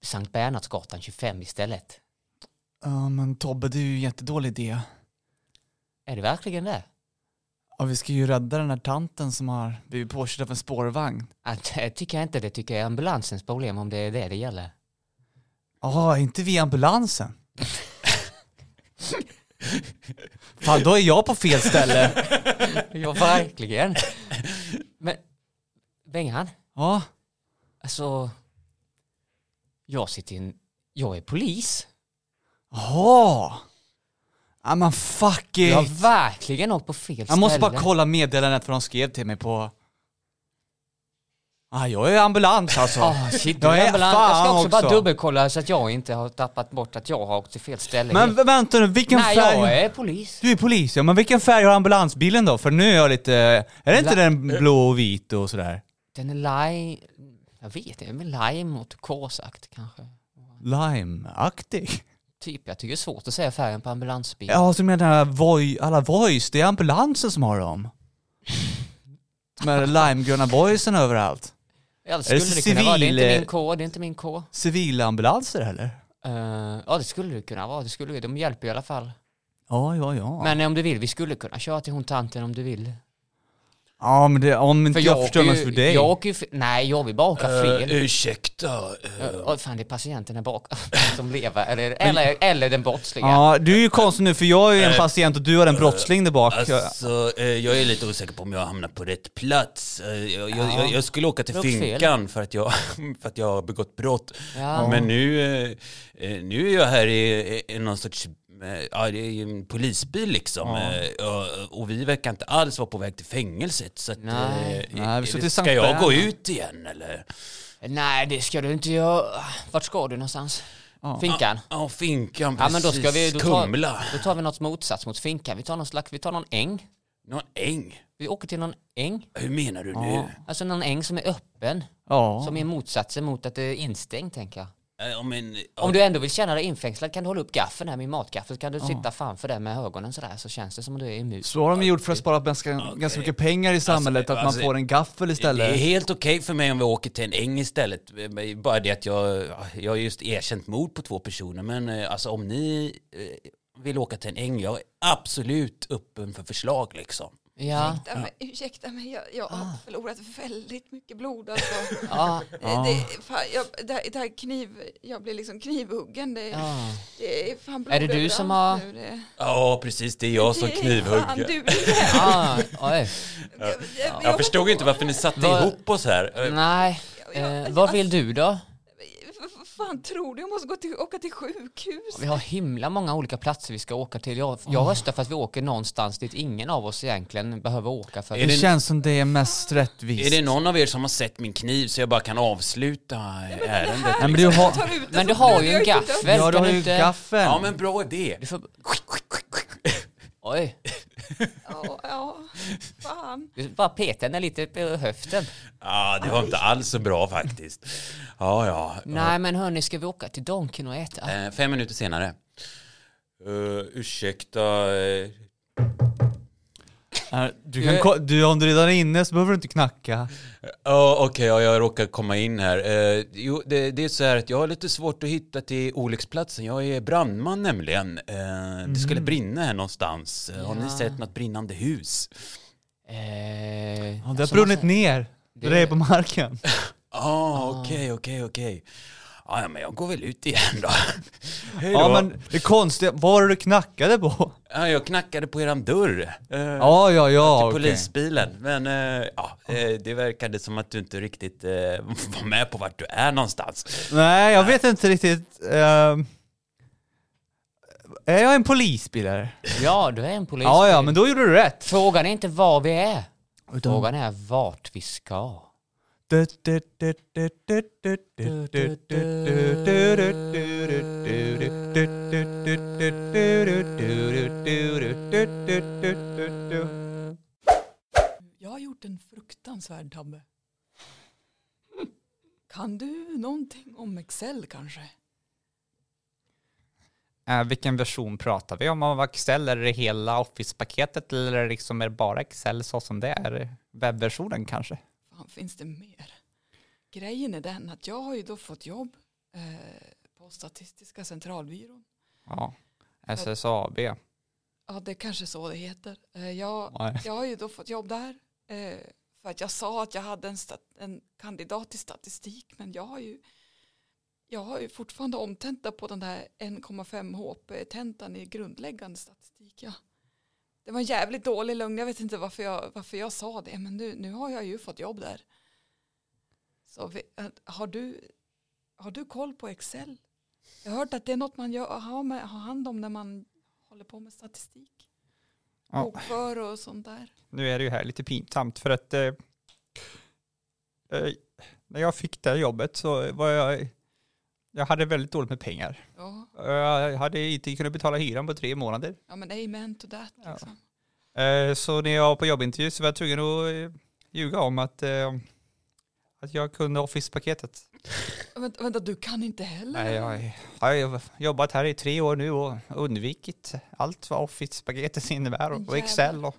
Speaker 2: Sankt Bernhardsgatan 25 istället.
Speaker 3: Ja, men Tobbe, det är ju en jättedålig idé.
Speaker 2: Är det verkligen det?
Speaker 3: Ja, vi ska ju rädda den här tanten som har blivit påkörd av en spårvagn.
Speaker 2: Att, eh, tycker jag inte, det tycker jag är ambulansens problem om det är det det gäller.
Speaker 3: Jaha, inte vi i ambulansen? Fan, då är jag på fel ställe.
Speaker 2: Ja, verkligen. Men, Bengan,
Speaker 3: Ja,
Speaker 2: alltså, jag sitter i en, jag är polis.
Speaker 3: jaha. Ja, men fuck it.
Speaker 2: Jag har verkligen åkt på fel ställe.
Speaker 3: Jag måste bara kolla meddelandet vad de skrev till mig på...
Speaker 5: Ah, jag är ambulans alltså.
Speaker 2: Ah, shit,
Speaker 5: Jag
Speaker 2: jag,
Speaker 5: är
Speaker 2: är ambulans. jag ska
Speaker 5: fan
Speaker 2: också, bara
Speaker 5: också.
Speaker 2: dubbelkolla så att jag inte har tappat bort att jag har åkt till fel ställe.
Speaker 5: men vä- vänta nu, vilken
Speaker 2: Nej,
Speaker 5: färg?
Speaker 2: jag är polis.
Speaker 5: Du är polis, ja men vilken färg har ambulansbilen då? För nu är jag lite... Är det inte
Speaker 2: La-
Speaker 5: den blå och vit och sådär?
Speaker 2: Den är lime... Jag vet inte, men lime och turkosakt kanske.
Speaker 5: Lime-aktig?
Speaker 2: Typ, jag tycker det är svårt att säga färgen på ambulansbil.
Speaker 5: Ja, som menar voj, alla voice, det är ambulansen som har dem. Med limegröna voicen överallt.
Speaker 2: Eller skulle det, kunna vara. Det är
Speaker 5: civil,
Speaker 2: inte
Speaker 5: eh,
Speaker 2: min K, det är inte min K.
Speaker 5: Civilambulanser eller?
Speaker 2: Eh, ja, det skulle det kunna vara. Det skulle, de hjälper i alla fall.
Speaker 5: Ja, ja, ja.
Speaker 2: Men om du vill, vi skulle kunna köra till hon tanten om du vill.
Speaker 5: ja, men det, om inte jag, förstör mig
Speaker 2: ju-
Speaker 5: för dig. Eh,
Speaker 2: jag åker ju fe- Nej, jag vill bara åka fel.
Speaker 1: ursäkta. eh,
Speaker 2: Eh, åh, fan, det är patienten här bak som lever. Eller, eller, eller den brottsliga.
Speaker 5: Ja, du är ju konstig nu för jag är ju en patient och du har en brottsling där bak.
Speaker 1: Alltså, eh, jag är lite osäker på om jag hamnar på rätt plats. Eh, jag, jag, jag, jag skulle åka till
Speaker 2: Du har åkt fel.
Speaker 1: finkan för att, jag, för att jag har begått brott.
Speaker 2: Ja.
Speaker 1: Men nu, eh, eh, nu är jag här i, i någon sorts eh, ja, det är ju en polisbil liksom. Eh, och- Och vi verkar inte alls vara på väg till fängelset. Så att, eh,
Speaker 2: Nej.
Speaker 5: Nej, vi ska
Speaker 1: eh,
Speaker 5: till Sankt
Speaker 1: ska jag gå
Speaker 5: Bernhard.
Speaker 1: ut igen eller?
Speaker 2: Nej, det ska du inte göra. Vart ska du någonstans? Finkan?
Speaker 1: Ja, finkan
Speaker 2: Ja,
Speaker 1: precis.
Speaker 2: men då ska vi... Då tar,
Speaker 1: Kumla.
Speaker 2: då tar vi något motsats mot finkan. Vi tar någon slags... Vi tar någon äng.
Speaker 1: Någon äng.
Speaker 2: Vi åker till någon äng.
Speaker 1: Hur menar du nu?
Speaker 5: Ja.
Speaker 2: Alltså någon äng som är öppen.
Speaker 5: Ja.
Speaker 2: Som är motsatsen mot att det är instängt, tänker jag.
Speaker 1: Eh, Om en,
Speaker 2: Om du ändå vill känna dig infängslad kan du hålla upp gaffeln här, min matgaffel, så kan du sitta framför den med ögonen sådär så känns det som att du är i mus.
Speaker 5: Så har de gjort för att spara ganska, ganska mycket pengar i samhället, att man
Speaker 1: alltså-
Speaker 5: får en gaffel
Speaker 1: Det är
Speaker 5: istället.
Speaker 1: helt okej för mig om vi åker till en äng istället. Eh, Men Bara det att jag, jag har just erkänt mord på två personer. Men eh, alltså om ni eh, vill åka till en äng, jag är absolut öppen för förslag liksom.
Speaker 2: Ja, Ah.
Speaker 4: Ursäkta mig, ursäkta mig jag, jag har förlorat väldigt mycket blod. Alltså.
Speaker 2: ja,
Speaker 4: Det, det, fan, jag, det, här, det här kniv, jag blir liksom knivhuggen. Det,
Speaker 2: ja.
Speaker 4: det är fan blod
Speaker 2: Ah. Är det du som
Speaker 4: överallt
Speaker 2: har-
Speaker 4: Nu, det,
Speaker 1: Ja, precis. Det är jag som
Speaker 4: det är Fan,
Speaker 1: knivhugger.
Speaker 4: du, det,
Speaker 2: Ah, oj.
Speaker 4: jag, jag,
Speaker 1: Jag förstod inte varför ni satte
Speaker 2: Vad-
Speaker 1: ihop oss här. Eh,
Speaker 2: Nej,
Speaker 4: jag- jag-
Speaker 2: eh, vad vill du då?
Speaker 4: Vad fan tror du? Jag måste gå till, åka till sjukhus.
Speaker 2: Vi har himla många olika platser vi ska åka till. Jag, jag röstar för att vi åker någonstans dit ingen av oss egentligen behöver åka för.
Speaker 1: Är
Speaker 5: Det
Speaker 1: det-
Speaker 5: känns som det är mest
Speaker 1: Är
Speaker 5: rättvist.
Speaker 1: det någon av er som har sett min kniv så jag bara kan avsluta eh, ärendet?
Speaker 5: Nej, men du har,
Speaker 4: Tar ut det
Speaker 2: Men du
Speaker 4: från
Speaker 2: har
Speaker 4: blod,
Speaker 2: ju en
Speaker 4: jag är inte
Speaker 2: gaffel.
Speaker 4: död.
Speaker 5: ja, du
Speaker 2: Kan
Speaker 5: har
Speaker 2: du
Speaker 5: ju
Speaker 2: inte-
Speaker 5: gaffeln.
Speaker 1: Ja, men bra idé.
Speaker 2: Du får... Oj,
Speaker 4: Ja, ja, fan.
Speaker 2: du bara peta henne lite på höften.
Speaker 1: Ja, det var inte alls så bra faktiskt. Ja, ja.
Speaker 2: Nej men hörni, ska vi åka till Donken och äta?
Speaker 1: Eh, fem minuter senare. Uh, ursäkta. eh,
Speaker 5: Ja, Du, kan, ko- du, om du redan är inne så behöver du inte knacka.
Speaker 1: Ja, okej, ja, jag råkar komma in här. Eh, jo, det, det är så här att jag har lite svårt att hitta till olycksplatsen. Jag är brandman nämligen. Eh, det skulle brinna här någonstans. Eh, Har ni
Speaker 2: Ja.
Speaker 1: sett något brinnande hus?
Speaker 2: Eh,
Speaker 5: Ja, det har
Speaker 2: alltså,
Speaker 5: brunnit
Speaker 2: massa-
Speaker 5: ner.
Speaker 2: det-
Speaker 5: Det är på marken.
Speaker 1: Ah, okej, okej, okej. Ah, Ja, ja, men jag går väl ut igen då. Hej då.
Speaker 5: Ja men det konstiga, vad var det du knackade på?
Speaker 1: Ja, jag knackade på eran dörr. Eh,
Speaker 5: Ja ja ja
Speaker 1: till
Speaker 5: Ah, okej.
Speaker 1: polisbilen. Men eh, ja, eh, det verkade som att du inte riktigt eh, var med på vart du är någonstans.
Speaker 5: Nej jag vet inte riktigt. ehm. är jag en polisbil eller?
Speaker 2: Ja, du är en polis.
Speaker 5: Ja ja men då gjorde du rätt.
Speaker 2: Frågan är inte var vi är.
Speaker 5: Utan-
Speaker 2: Frågan är vart vi ska.
Speaker 4: Jag har gjort en fruktansvärd tabbe. Kan du någonting om Excel kanske?
Speaker 3: Eh, vilken version pratar vi om av Excel? Är det hela Office-paketet eller är det liksom är det bara Excel så som det är? Webbversionen kanske?
Speaker 4: Fan, finns det mer? Grejen är den att jag har ju då fått jobb eh, på Statistiska centralbyrån.
Speaker 3: Ja, SSAB.
Speaker 4: Ja, det är kanske så det heter. Eh, jag,
Speaker 3: Nej.
Speaker 4: jag har ju då fått jobb där eh, för att jag sa att jag hade en, stat- en kandidat i statistik men jag har ju jag har ju fortfarande omtenta på den där 1,5 HP-tentan i grundläggande statistik. Ja. Det var en jävligt dålig lögn. Jag vet inte varför jag, varför jag sa det. Men nu, nu har jag ju fått jobb där. Så vi, eh, har, du, har du koll på Excel? Jag har hört att det är något man gör, har, med, har hand om när man håller på med statistik.
Speaker 3: Ja.
Speaker 4: Bokför och sånt där.
Speaker 3: Nu är det ju här lite pinsamt för att eh, eh, när jag fick det här jobbet så var jag, jag hade väldigt dåligt med pengar.
Speaker 4: Ja,
Speaker 3: Jag hade inte kunnat betala hyran på tre månader.
Speaker 4: ja men amen to that
Speaker 3: Ja.
Speaker 4: liksom.
Speaker 3: Eh, Så när jag var på jobbintervju så var jag tvungen att eh, ljuga om att, eh, att jag kunde Office-paketet.
Speaker 4: Vänta, vänta, du kan inte heller?
Speaker 3: Nej, jag har jag har jobbat här i tre år nu och undvikit allt vad Office-paketet innebär och, och Excel. Och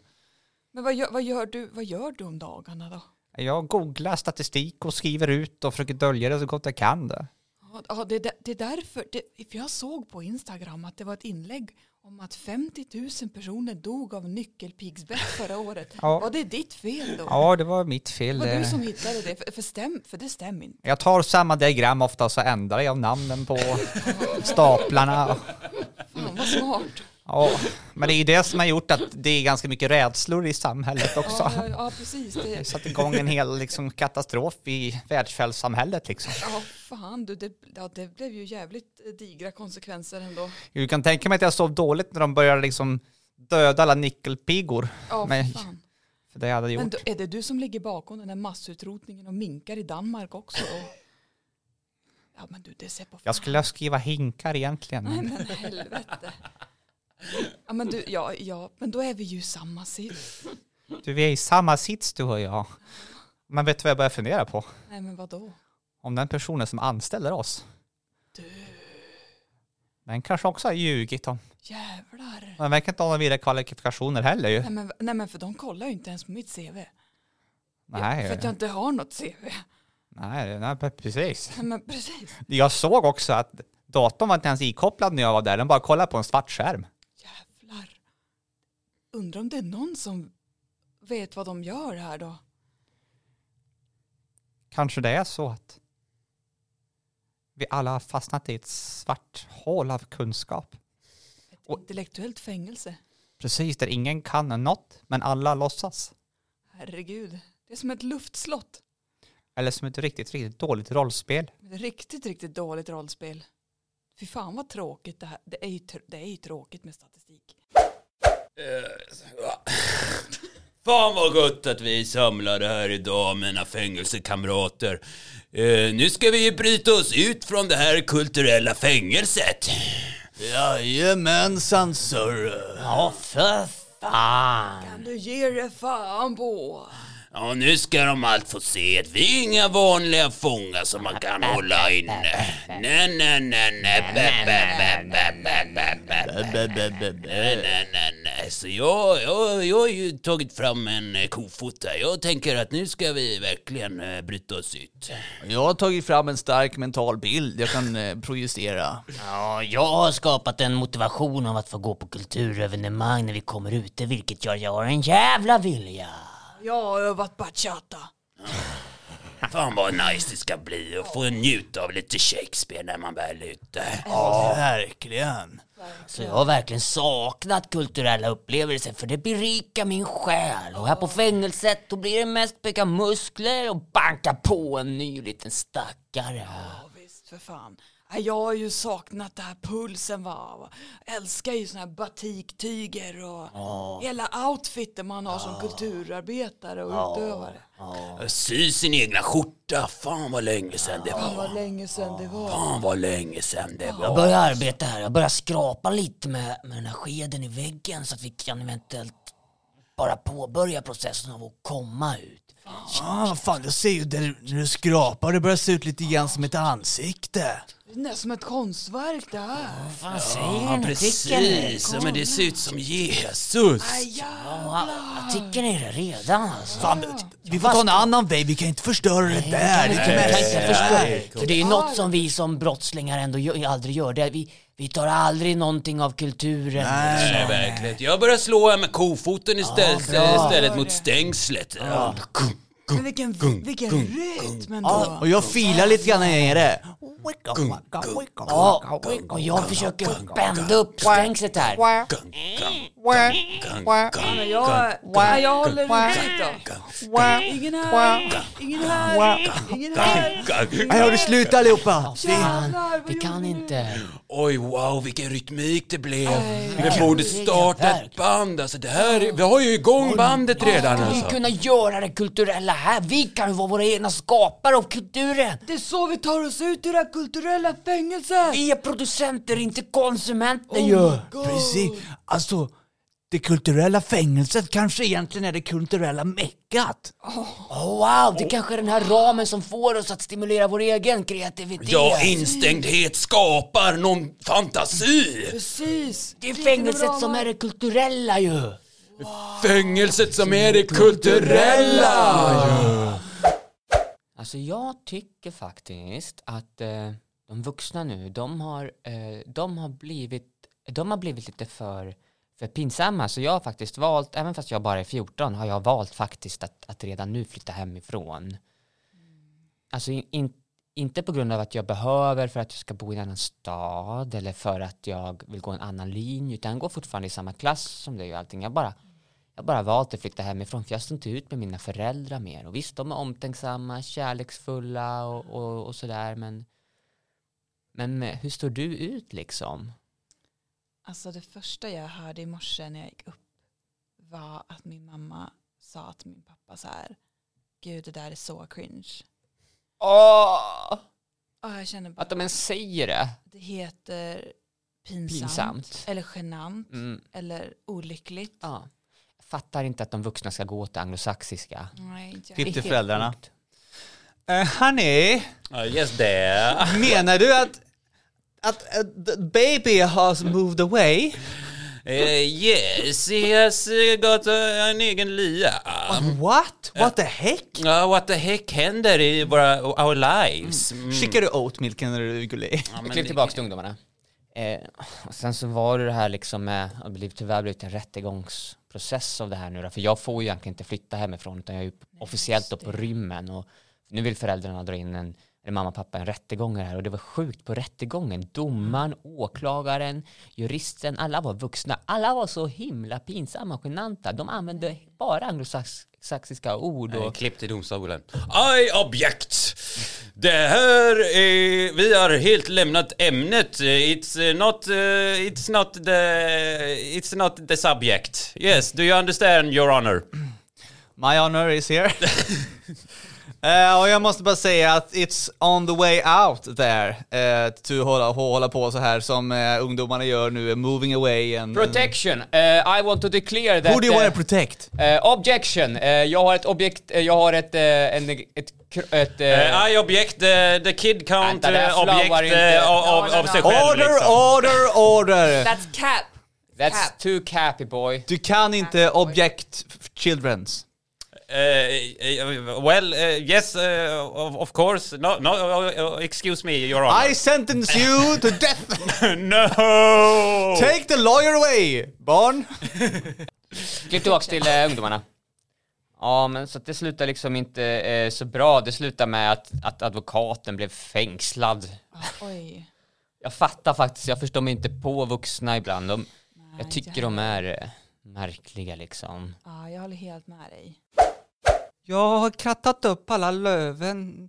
Speaker 4: Men vad gör, vad, gör du, vad gör du om dagarna då?
Speaker 3: jag googlar statistik och skriver ut och försöker dölja det så gott jag kan. Det.
Speaker 4: Ja, Ja, det, är där- det är därför, det, för jag såg på Instagram att det var ett inlägg om att 50 000 personer dog av nyckelpigsbett förra året. Var
Speaker 3: Ja,
Speaker 4: det ditt fel då?
Speaker 3: ja, det var mitt fel.
Speaker 4: var du
Speaker 3: det.
Speaker 4: som hittade det? För, för, stäm, för det stämmer inte.
Speaker 3: Jag tar samma diagram ofta så ändrar jag namnen på staplarna.
Speaker 4: Fan vad smart.
Speaker 3: Ja, men det är ju det som har gjort att det är ganska mycket rädslor i samhället också.
Speaker 4: Ja, ja, ja precis.
Speaker 3: Det
Speaker 4: Det,
Speaker 3: satte igång en hel liksom, katastrof i världsfällssamhället. Liksom.
Speaker 4: ja, fan du, det, ja, det blev ju jävligt eh, digra konsekvenser ändå.
Speaker 3: Du kan tänka mig att jag sov dåligt när de började liksom, döda alla nyckelpigor.
Speaker 4: Ja,
Speaker 3: Men-
Speaker 4: fan.
Speaker 3: För det hade jag
Speaker 4: Men
Speaker 3: gjort.
Speaker 4: då, är det du som ligger bakom den här massutrotningen av minkar i Danmark också? Och, ja, men du, det ser på
Speaker 3: Jag skulle skriva hinkar egentligen.
Speaker 4: Nej
Speaker 3: Men
Speaker 4: men helvete. Ja men du, ja, ja, men då är vi ju i samma sits.
Speaker 3: du, vi är i samma sits du och jag. Men vet du vad jag börjar fundera på?
Speaker 4: Nej men vadå?
Speaker 3: Om den personen som anställer oss. Den kanske också har ljugit om.
Speaker 4: Jävlar.
Speaker 3: Den verkar inte ha några vidare kvalifikationer heller ju.
Speaker 4: Nej men, nej men för de kollar ju inte ens på mitt CV.
Speaker 3: Nej,
Speaker 4: För att jag inte har något CV.
Speaker 3: nej, nej, pre- precis.
Speaker 4: Nej men precis.
Speaker 3: Jag såg också att datorn var inte ens ikopplad när jag var där. Den bara kollade på en svart skärm.
Speaker 4: Jävlar. Undrar om det är någon som vet vad de gör här då?
Speaker 3: Kanske det är så att vi alla har fastnat i ett svart hål av kunskap.
Speaker 4: Ett
Speaker 3: Och-
Speaker 4: intellektuellt fängelse.
Speaker 3: Precis, där ingen kan något, men alla låtsas.
Speaker 4: Herregud. Det är som ett luftslott.
Speaker 3: Eller som ett riktigt, riktigt dåligt rollspel.
Speaker 4: Ett riktigt, riktigt dåligt rollspel. Fy fan vad tråkigt det här. Det är ju, tr- det är ju tråkigt med statistik.
Speaker 1: Eh, Fan vad gott att vi är samlade här idag mina fängelsekamrater. Eh, nu ska vi bryta oss ut från det här kulturella fängelset. Jajamensan sir.
Speaker 6: Ja, för fan.
Speaker 4: Kan du ge dig fan på?
Speaker 1: Ja, nu ska de allt få se att vi är inga vanliga fångar som man kan hålla inne. Nej, nej, nej, nej. Bä, bä, bä, bä, bä, bä, bä, bä, bä, bä, bä. Nej, nej, nej, nej. Så jag, jag, jag har ju tagit fram en eh, kofota. Jag tänker att nu ska vi verkligen eh, bryta oss ut.
Speaker 5: Jag har tagit fram en stark mental bild jag kan eh, projicera.
Speaker 2: Ja, jag har skapat en motivation av att få gå på kulturevenemang när vi kommer ute, vilket gör att jag har en jävla vilja.
Speaker 4: Jag har övat bachata.
Speaker 1: Fan vad nice det ska bli att få njuta av lite Shakespeare när man väl är ute.
Speaker 5: Ja, verkligen.
Speaker 2: Så jag har verkligen saknat kulturella upplevelser för det berikar min själ. Och här på fängelset då blir det mest bygga muskler och banka på en ny liten stackare.
Speaker 4: Ja, visst för fan. Nej, Jag har ju saknat den här pulsen va. Jag älskar ju såna här batiktyger och hela outfiten man har som kulturarbetare och utövare.
Speaker 1: Sy sin egna skjorta. Fan vad länge sedan det
Speaker 4: Fan
Speaker 1: var.
Speaker 4: vad länge sedan det var.
Speaker 1: Fan vad länge sedan det var.
Speaker 2: Jag börjar arbeta här, jag börjar skrapa lite med, med den här skeden i väggen så att vi kan eventuellt bara påbörja processen av att komma ut.
Speaker 5: Ah, vad fan, jag ser ju där du- när du skrapar, det börjar se ut lite grann som ett ansikte.
Speaker 4: Det är nästan som ett konstverk det här.
Speaker 2: Vad fan säger
Speaker 1: Ja,
Speaker 2: ni? Tycker ni?
Speaker 1: precis. Ja, men det ser ut som Jesus.
Speaker 4: Aj, ja.
Speaker 2: Ja, jag tycker ni det redan alltså?
Speaker 5: Fan, vi får ta en annan väg, vi kan inte förstöra det där. Det kan
Speaker 2: Jag kan
Speaker 5: mest-
Speaker 2: inte förstå. För det är ju
Speaker 4: Ah.
Speaker 2: något som vi som brottslingar ändå gör, aldrig gör. Det är, vi, vi tar aldrig någonting av kulturen.
Speaker 7: Äh,
Speaker 2: liksom.
Speaker 1: Nej, verkligen. Jag börjar slå här med kofoten istället, istället mot stängslet. Ja.
Speaker 4: Men vilken, vilken rytm ändå.
Speaker 5: Och jag filar lite grann här nere.
Speaker 2: Ja, och jag försöker bända upp stängslet här.
Speaker 4: Ja, men jag, nej, jag håller inte då. Ingen här, ingen här, ingen här.
Speaker 7: Nej, har du slut allihopa?
Speaker 4: Jävlar, vad
Speaker 2: Vi kan
Speaker 4: gjorde ni?
Speaker 2: inte.
Speaker 1: Oj, wow, vilken rytmik det blev.
Speaker 4: Nej.
Speaker 1: Vi borde starta ett band. Alltså, det här, är- vi har ju igång bandet redan.
Speaker 8: Vi
Speaker 1: Alltså.
Speaker 8: kunna göra det kulturella här. Vi kan ju vara våra egna skapare av kulturen.
Speaker 4: Det är så vi tar oss ut ur det här kulturella fängelset!
Speaker 8: Vi är producenter, inte konsumenter
Speaker 4: Oh
Speaker 8: ju.
Speaker 4: my God.
Speaker 7: Precis. Alltså, det kulturella fängelset kanske egentligen är det kulturella meckat.
Speaker 8: Oh, wow, det kanske är den här ramen som får oss att stimulera vår egen kreativitet.
Speaker 1: Ja, instängdhet skapar någon fantasi.
Speaker 4: Precis!
Speaker 8: det är fängelset som är det kulturella ju.
Speaker 1: Fängelset som är det kulturella.
Speaker 2: Alltså jag tycker faktiskt att eh, de vuxna nu, de har, eh, de har, blivit, de har blivit lite för, för pinsamma. Så jag har faktiskt valt, även fast jag bara är 14, har jag valt faktiskt att, att redan nu flytta hemifrån. Alltså in, in, inte på grund av att jag behöver för att jag ska bo i en annan stad eller för att jag vill gå en annan linje, utan jag går fortfarande i samma klass som dig och allting. Jag bara jag har bara valt att flytta hemifrån för jag står inte ut med mina föräldrar mer. Och visst, de är omtänksamma, kärleksfulla och, och, och sådär, men, men eh, hur står du ut liksom?
Speaker 4: Alltså det första jag hörde i morse när jag gick upp var att min mamma sa till min pappa så här, gud det där är så cringe.
Speaker 2: Åh!
Speaker 4: Och jag känner bara,
Speaker 2: Att de ens säger det.
Speaker 4: det heter pinsamt,
Speaker 2: Pinsamt.
Speaker 4: eller genant
Speaker 2: Mm.
Speaker 4: eller olyckligt.
Speaker 2: Ja. Jag fattar inte att de vuxna ska gå till anglosaxiska.
Speaker 4: Nej, inte jag.
Speaker 2: Det är
Speaker 3: Titta
Speaker 2: helt
Speaker 3: föräldrarna.
Speaker 2: sjukt.
Speaker 3: Uh, honey,
Speaker 1: Ja, Yes, det.
Speaker 3: menar du att, att, att the baby has moved away?
Speaker 1: Eh, yes, he has eh, got eh, en egen lya.
Speaker 3: What? What the heck?
Speaker 1: Ja, what the heck händer i våra, our lives? Mm.
Speaker 3: Skickar du oatmilken när du är gullig?
Speaker 1: Ja, men
Speaker 2: Klipp tillbaka till ungdomarna. Eh, och sen så var det det här liksom med, det blev tyvärr blivit en rättegångsprocess av det här nu då, för jag får ju egentligen inte flytta hemifrån utan jag är ju officiellt då på rymmen och nu vill föräldrarna dra in en, eller mamma och pappa en rättegång i det här och det var sjukt på rättegången.
Speaker 1: Mm.
Speaker 2: Domaren, åklagaren, juristen, alla var vuxna. Alla var så himla pinsamma och genanta. De använde bara anglosaxiska ord
Speaker 1: Eh,
Speaker 2: och
Speaker 1: Klipp till domstolen. I object! Det här är... Vi har helt lämnat ämnet. It's eh, not... eh, it's not the... It's not the subject. Yes, do you understand, your honor?
Speaker 3: My honor is here. Eh, och jag måste bara säga att it's on the way out there. eh, to hålla, hålla på så här som eh, ungdomarna gör nu, moving away and...
Speaker 2: Protection! Eh, I want to declare that...
Speaker 3: Who do you want
Speaker 2: eh,
Speaker 3: to protect?
Speaker 2: Eh, objection! Eh, jag har ett objekt, eh, jag har ett, eh, en, ett, kr- ett, eh,
Speaker 1: Eh, I object, the, the kid count
Speaker 2: Vänta, det här
Speaker 1: eh, object
Speaker 2: flowar inte.
Speaker 1: eh,
Speaker 2: alltså-
Speaker 1: av, av,
Speaker 4: Ja,
Speaker 1: av sig
Speaker 4: ja,
Speaker 1: själv
Speaker 3: Order,
Speaker 1: liksom.
Speaker 3: order, order!
Speaker 4: That's cap!
Speaker 2: that's
Speaker 4: cap.
Speaker 2: too cappy boy.
Speaker 3: Du kan inte object f- childrens.
Speaker 1: Eh, eh, well, eh, yes, eh, of, of course. No, no, eh, excuse me, your honor.
Speaker 3: I sentence you to death!
Speaker 1: no!
Speaker 3: Take the lawyer away, barn!
Speaker 2: Klipp tillbaks till eh, ungdomarna. Ja, men så att det slutar liksom inte eh, så bra. Det slutar med att, att advokaten blev fängslad.
Speaker 4: Oj.
Speaker 2: Jag fattar faktiskt, jag förstår mig inte på vuxna ibland. De,
Speaker 4: Nej,
Speaker 2: jag tycker de är eh, märkliga liksom.
Speaker 4: Ja, jag håller helt med dig.
Speaker 5: Jag har krattat upp alla löven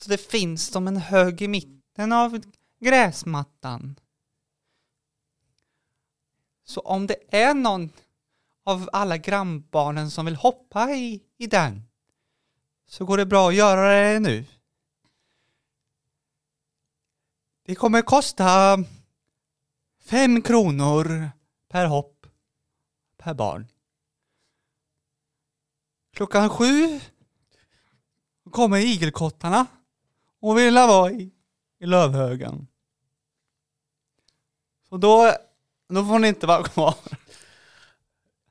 Speaker 5: så det finns som en hög i mitten av gräsmattan. Så om det är någon av alla grannbarnen som vill hoppa i, i den så går det bra att göra det nu. Det kommer kosta fem kronor per hopp per barn. Klockan sju kommer igelkottarna och vill vara i, i lövhögen. Så då, då får ni inte vara kvar.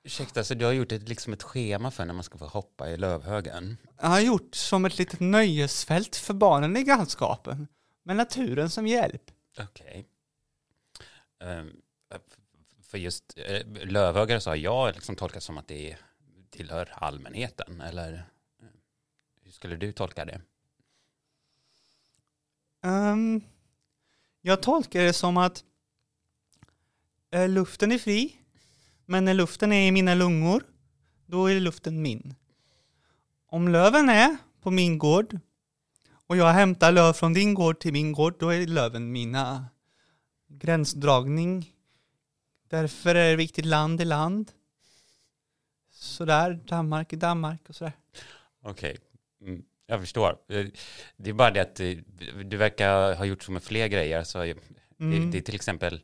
Speaker 1: Ursäkta, så du har gjort ett, liksom ett schema för när man ska få hoppa i lövhögen?
Speaker 5: Jag har gjort som ett litet nöjesfält för barnen i grannskapen. Med naturen som hjälp.
Speaker 1: Okej. Ehm, för just eh, lövhögar så har jag liksom tolkat som att det tillhör allmänheten, eller eh, hur skulle du tolka det?
Speaker 5: Ehm, jag tolkar det som att eh, luften är fri, men när luften är i mina lungor, då är luften min. Om löven är på min gård och jag hämtar löv från din gård till min gård, då är löven mina. Gränsdragning. Därför är det viktigt land i land. Sådär, Danmark i Danmark och sådär.
Speaker 1: Okej, mm, jag förstår. Eh, Det är bara det att eh, du verkar ha gjort så med fler grejer. Så eh, det,
Speaker 5: Mm.
Speaker 1: det är till exempel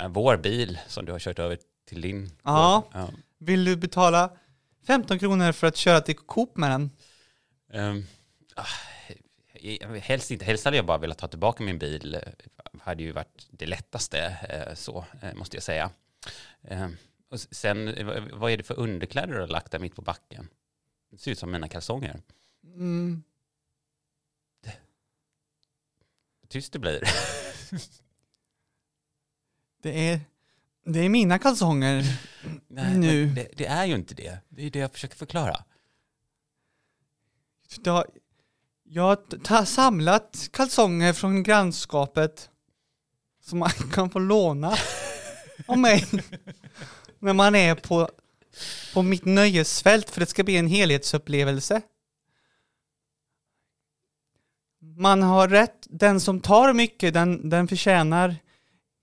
Speaker 1: eh, vår bil som du har kört över till din.
Speaker 5: Ja.
Speaker 1: gård. ja.
Speaker 5: Vill du betala 15 kronor för att köra till Coop med den?
Speaker 1: Um, eh, helst inte. Helst hade jag bara velat ta tillbaka min bil. eh, hade ju varit det lättaste, eh, så eh, måste jag säga. Ehm, och s- sen, eh, vad- vad är det för underkläder du har lagt där mitt på backen? Det ser ut som mina kalsonger.
Speaker 5: Mm.
Speaker 1: Tyst det blir.
Speaker 5: Det är, det är mina kalsonger.
Speaker 1: Nej,
Speaker 5: Nu.
Speaker 1: men Det, det är ju inte det. Det är det jag försöker förklara.
Speaker 5: Det har- Jag har ta- samlat kalsonger från grannskapet som man kan få låna av mig när man är på, på mitt nöjesfält för det ska bli en helhetsupplevelse. Man har rätt, den som tar mycket den, den förtjänar,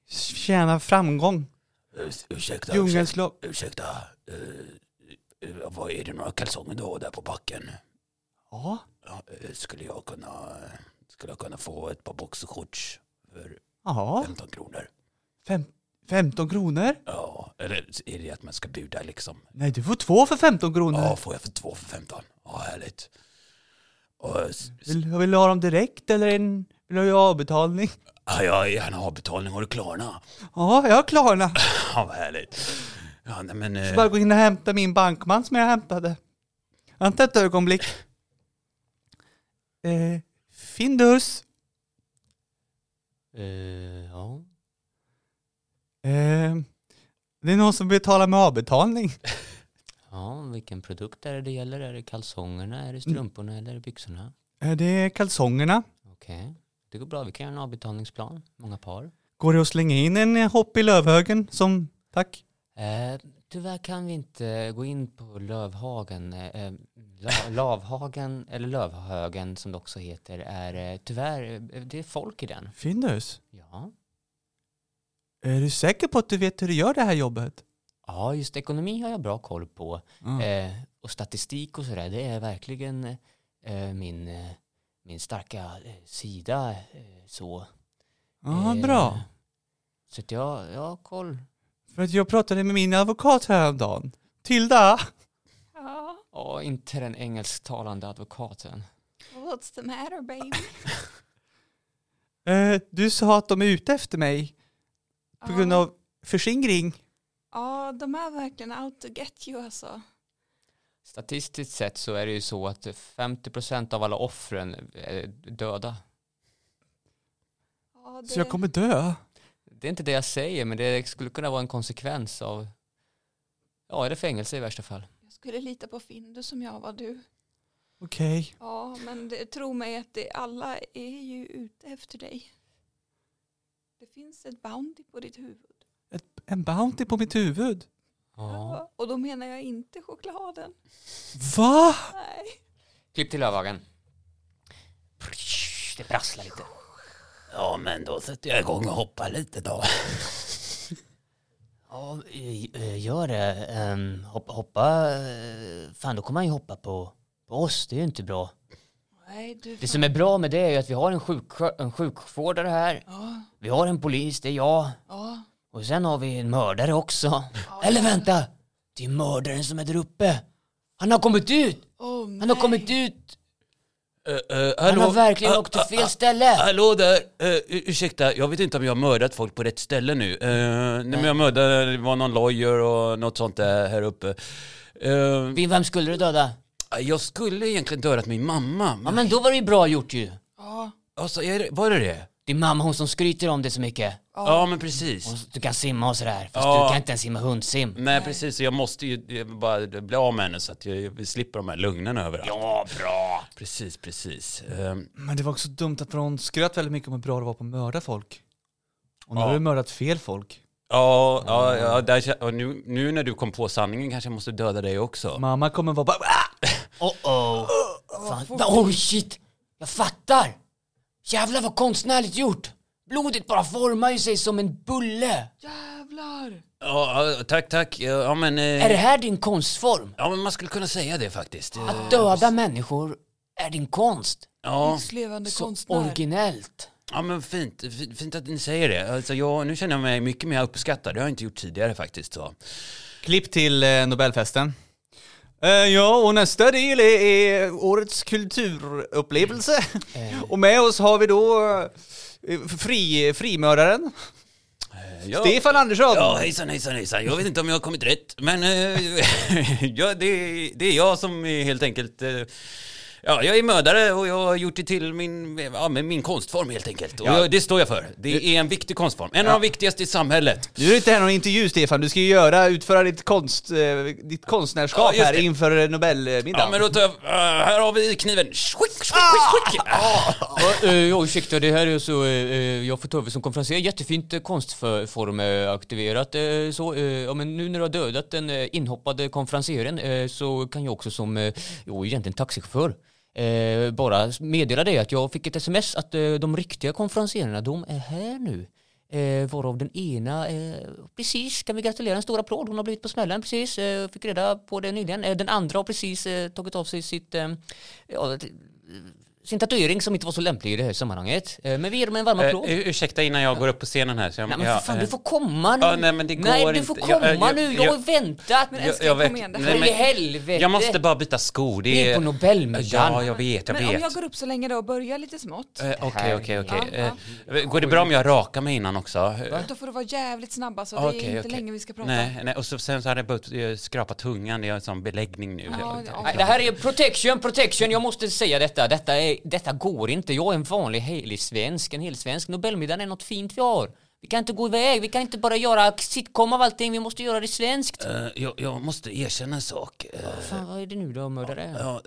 Speaker 5: förtjänar framgång.
Speaker 8: Urs- Ursäkta,
Speaker 5: Djungelns lag.
Speaker 8: ursäkta. Eh, eh, vad är det några kalsonger du har där på backen?
Speaker 5: Ja,
Speaker 8: Ja, eh, skulle, jag kunna, skulle jag kunna få ett par boxershorts för
Speaker 5: ja
Speaker 8: 15 kronor?
Speaker 5: fem, 15 kronor.
Speaker 8: Ja, eller är det att man ska buda liksom?
Speaker 5: Nej, du får två för 15 kronor.
Speaker 8: Ja, får jag för två för 15? Ja, härligt. Och, s- s-
Speaker 5: Vill, vill du ha dem direkt eller en, vill du ha avbetalning?
Speaker 8: ja, jag vill gärna avbetalning. Har du Klarna?
Speaker 5: Ja, jag har Klarna.
Speaker 8: Ja, vad härligt. Ja, nej, men...
Speaker 5: Så
Speaker 8: eh,
Speaker 5: bara gå in och hämta min bankman som jag hämtade. Vänta ett ögonblick. Eh, Findus.
Speaker 2: ja.
Speaker 5: Eh, det är någon som betalar med avbetalning.
Speaker 2: ja, vilken produkt är det det gäller? Är det kalsongerna, är det strumporna eller är det byxorna?
Speaker 5: Eh, det är kalsongerna.
Speaker 2: Okej, det går bra. Vi kan göra en avbetalningsplan. Många par.
Speaker 5: Går det att slänga in en eh, hopp i lövhögen som tack?
Speaker 2: Eh, tyvärr kan vi inte gå in på Lövhagen. Eh, eh, La- Lavhagen, eller Lövhögen som det också heter, är eh, tyvärr, eh, det är folk i den.
Speaker 5: Findus,
Speaker 2: Ja.
Speaker 5: är du säker på att du vet hur du gör det här jobbet?
Speaker 2: ja, just ekonomi har jag bra koll på.
Speaker 5: Ja.
Speaker 2: Eh, och statistik och sådär, det är verkligen eh, min, eh, min starka eh, sida. Eh, så.
Speaker 5: Ja,
Speaker 2: Eh,
Speaker 5: bra.
Speaker 2: Så att jag, jag har koll.
Speaker 5: För att jag pratade med min advokat häromdagen. Tilda.
Speaker 4: Ja,
Speaker 2: Ja, inte den engelsktalande advokaten.
Speaker 4: what's the matter baby?
Speaker 5: Eh, du sa att de är ute efter mig på grund av förskingring.
Speaker 4: Ja, de är verkligen out to get you alltså.
Speaker 2: Statistiskt sett så är det ju så att 50% av alla offren är döda.
Speaker 4: Ja, det...
Speaker 5: Så jag kommer dö.
Speaker 2: Det är inte det jag säger, men det skulle kunna vara en konsekvens av, ja, eller fängelse i värsta fall.
Speaker 4: jag skulle lita på Findus om jag var du.
Speaker 5: Okej.
Speaker 4: Ja, men det, tro mig att det, alla är ju ute efter dig. Det finns ett bounty på ditt huvud.
Speaker 5: Ett, en bounty på mitt huvud.
Speaker 2: Ja.
Speaker 4: Och då menar jag inte chokladen.
Speaker 5: Va?
Speaker 4: Nej.
Speaker 2: Klipp till Lövhagen.
Speaker 8: Det prasslar lite. Ja, men då sätter jag igång och hoppar lite då.
Speaker 2: Ja, eh, gör det. Ehm, hoppa, hoppa. eh, Fan, då kommer han ju hoppa på, på oss. Det är ju inte bra.
Speaker 4: Nej, du
Speaker 2: Det som är bra med det är ju att vi har en, sjuksjö- en sjukvårdare här.
Speaker 4: Ja,
Speaker 2: Vi har en polis, det är jag.
Speaker 4: ja.
Speaker 2: Och sen har vi en mördare också. Eller vänta! Det är mördaren som är där uppe. Han har kommit ut!
Speaker 4: Oh, nej.
Speaker 2: Han har kommit ut!
Speaker 8: Eh, eh,
Speaker 2: Han
Speaker 8: hallå?
Speaker 2: har verkligen
Speaker 8: Ah,
Speaker 2: åkt till
Speaker 8: ah,
Speaker 2: fel
Speaker 8: ah,
Speaker 2: ställe!
Speaker 8: Hallå där! Eh, ur- ursäkta, jag vet inte om jag har mördat folk på rätt ställe nu. Eh, nej, men jag mördade, det var någon lawyer och något sånt där här uppe. Eh,
Speaker 2: Vin, Vem skulle du döda?
Speaker 8: jag skulle egentligen dödat min mamma.
Speaker 2: Ja
Speaker 8: Men,
Speaker 2: men då var det ju bra gjort ju.
Speaker 4: Ja,
Speaker 8: alltså, är det, var det det?
Speaker 2: Din mamma hon som skryter om det så mycket.
Speaker 8: Ja, men precis.
Speaker 2: Hon, du kan simma och sådär. Fast
Speaker 8: Ja.
Speaker 2: du kan inte ens simma hundsim.
Speaker 8: Nej, precis.
Speaker 1: Precis, så jag måste ju jag vill bara bli av med henne så att jag, jag slipper de här lögnerna överallt.
Speaker 8: Ja, bra. Precis, precis. Ehm,
Speaker 5: Men det var också dumt att för hon skröt väldigt mycket om hur bra det var på att mörda folk. Och nu
Speaker 1: Ja.
Speaker 5: har du mördat fel folk.
Speaker 1: Ja, ja, ja där, kä- och nu, nu när du kom på sanningen kanske jag måste döda dig också.
Speaker 5: Mamma kommer vara bara... Ah!
Speaker 2: Oh oh.
Speaker 8: Fan.
Speaker 4: fort.
Speaker 8: Oh shit! Jag fattar! Jävlar vad konstnärligt gjort! Blodet bara formar ju sig som en bulle.
Speaker 4: Jävlar!
Speaker 1: Ja, ja, tack, tack. Ja, Ja, men, eh,
Speaker 8: Är det här din konstform?
Speaker 1: ja, men man skulle kunna säga det faktiskt. Eh,
Speaker 8: Att döda människor är din konst.
Speaker 1: Ja,
Speaker 4: Livslevande
Speaker 8: Så
Speaker 4: konstnär.
Speaker 8: originellt.
Speaker 1: ja men fint, Fint- fint att ni säger det. Alltså, jag, nu känner jag mig mycket mer uppskattad. Det har jag inte gjort tidigare faktiskt. Så.
Speaker 3: Klipp till eh, Nobelfesten. Eh, ja, och nästa del är, är årets kulturupplevelse.
Speaker 1: Eh.
Speaker 3: Och med oss har vi då eh, fri, frimördaren
Speaker 1: Ja.
Speaker 3: Stefan Andersson.
Speaker 1: Eh, Ja, hejsan, hejsan, hejsan. Jag vet inte om jag har kommit rätt, men eh, ja, det, det är jag som är helt enkelt... Eh, ja, jag är mördare och jag har gjort det till min, ja, men min konstform helt enkelt. Och jag, det står jag för. Det är en viktig konstform. En av de viktigaste i samhället.
Speaker 3: Du är det inte här någon intervju Stefan, du ska ju göra, utföra ditt, konst, eh, ditt konstnärskap
Speaker 1: Ja, just
Speaker 3: här
Speaker 1: det.
Speaker 3: inför eh, Nobelmiddagen.
Speaker 1: Ja, men då tar jag... eh, här har vi kniven. Squick, squick, squick, squick. Ah!
Speaker 2: Uh, ursäkta, det här är så, eh, jag får ta över som konferencier. Jättefint uh, konstformaktiverat. Uh, så, eh, ja, men nu när du har dödat den eh, inhoppade konferencieren eh, så kan jag också som, uh, jo egentligen taxichaufför, eh, bara meddela dig att jag fick ett sms att eh, de riktiga konferencierna, de är här nu. Eh, varav den ena, eh, precis, kan vi gratulera en stor applåd, hon har blivit på smällen precis, eh, fick reda på det nyligen. Eh, den andra har precis eh, tagit av sig sitt, eh, ja, t- sin tatuering som inte var så lämplig i det här sammanhanget. Eh, men vi ger dem en varm applåd.
Speaker 1: Eh, ur- ursäkta innan jag går upp på scenen här. Så jag,
Speaker 2: nej men för fan,
Speaker 1: eh,
Speaker 2: du får komma nu.
Speaker 1: ja, nej, men det går
Speaker 2: Nej, du får
Speaker 1: inte. Jag-
Speaker 2: komma
Speaker 1: jag-
Speaker 2: nu. Jag har
Speaker 1: jag-
Speaker 2: väntat. Men
Speaker 4: jag-
Speaker 2: älskling,
Speaker 4: jag-
Speaker 1: vet-
Speaker 4: kom igen, det
Speaker 1: nej,
Speaker 4: här-
Speaker 1: men-
Speaker 2: i helvete.
Speaker 1: Jag måste bara byta sko.
Speaker 2: Vi
Speaker 1: Det
Speaker 2: är på Nobelmiddagen.
Speaker 1: Ja, jag vet, jag
Speaker 4: Men
Speaker 1: vet.
Speaker 4: om jag går upp så länge då och börjar lite smått.
Speaker 1: Eh, Okej, okej, okej.
Speaker 4: Ja,
Speaker 1: Eh, Går det bra om jag rakar mig innan också? Eh,
Speaker 4: Då får du vara jävligt snabba så det är
Speaker 1: okej,
Speaker 4: inte
Speaker 1: okej.
Speaker 4: länge vi ska prata.
Speaker 1: Nej, nej. och så, sen så hade jag börjat eh, skrapa tungan, det är en sån beläggning nu.
Speaker 4: Ja, ja.
Speaker 2: Nej, det här är protection, protection. Jag måste säga detta. Detta, är, detta går inte. Jag är en vanlig helig svensk, en hel svensk. Nobelmiddagen är något fint vi har. Vi kan inte gå iväg. Vi kan inte bara göra sitcom av allting. Vi måste göra det svenskt.
Speaker 1: Eh, jag, jag måste erkänna en sak. Eh,
Speaker 2: Fan, vad är det nu då, mördare?
Speaker 1: Ja,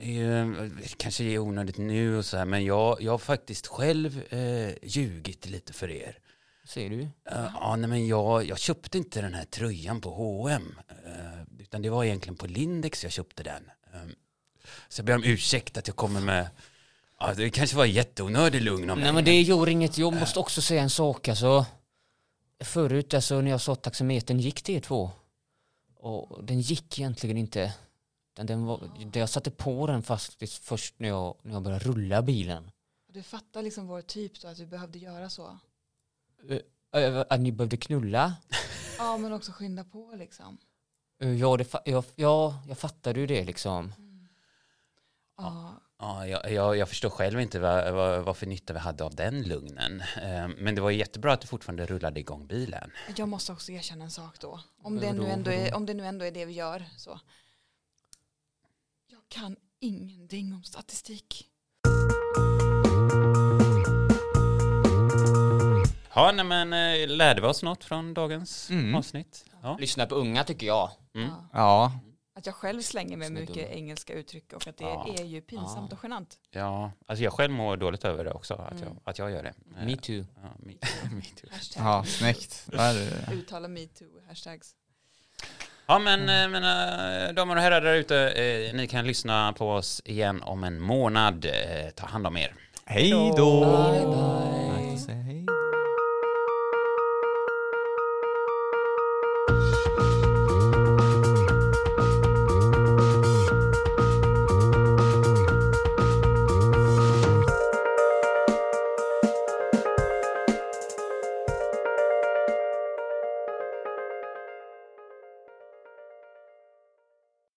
Speaker 1: eh, eh, kanske är onödigt nu och så här, men jag, jag har faktiskt själv eh, ljugit lite för er.
Speaker 2: Ser du?
Speaker 1: Eh, ja, nej, men jag, jag köpte inte den här tröjan på H&M eh, utan det var egentligen på Lindex jag köpte den. Eh, så jag ber om ursäkt att jag kommer med, ja, det kanske var jätteonödig lugn om
Speaker 2: Nej men det gör inget, jag måste också säga en sak alltså. Förut alltså när jag sa taxametern gick till er två. Och den gick egentligen inte. Den, den var, det jag satte på den faktiskt först när jag, när jag började rulla bilen.
Speaker 4: Du fattar liksom vår typ då, att vi behövde göra så.
Speaker 2: Ö, Att ni behövde knulla.
Speaker 4: Ja, men också skynda på liksom.
Speaker 2: Ö, Ja, det, fa- ja, ja jag fattade ju det liksom.
Speaker 4: Ja,
Speaker 1: Ja, jag, jag, jag förstår själv inte vad, vad, vad för nytta vi hade av den lugnen. Eh, Men det var ju jättebra att du fortfarande rullade igång bilen.
Speaker 4: jag måste också erkänna en sak då. Om det,
Speaker 2: Vadå,
Speaker 4: nu ändå är,
Speaker 2: vadå?
Speaker 4: om det nu ändå är det vi gör så. Jag kan ingenting om statistik.
Speaker 1: Ja, nej, men eh, lärde vi oss något från dagens
Speaker 2: Mm.
Speaker 1: avsnitt? Ja.
Speaker 2: Lyssna på unga tycker jag.
Speaker 4: Ja.
Speaker 3: Ja.
Speaker 4: Att jag själv slänger med
Speaker 2: Som är
Speaker 4: mycket
Speaker 2: dumma.
Speaker 4: engelska uttryck och att det
Speaker 1: Ja.
Speaker 4: är ju pinsamt och genant.
Speaker 1: ja, alltså jag själv mår dåligt över det också, att, jag, att jag gör det. Eh,
Speaker 2: Me too.
Speaker 1: Ja, me, me too.
Speaker 4: Hashtag
Speaker 3: ja, snyggt. Ja, det-
Speaker 4: Uttala metoo, hashtags.
Speaker 1: ja, men eh, mina damer och herrar där ute, eh, ni kan lyssna på oss igen om en månad. Eh, Ta hand om er.
Speaker 3: Hej då!
Speaker 2: Bye, bye.
Speaker 3: Nice to say Hej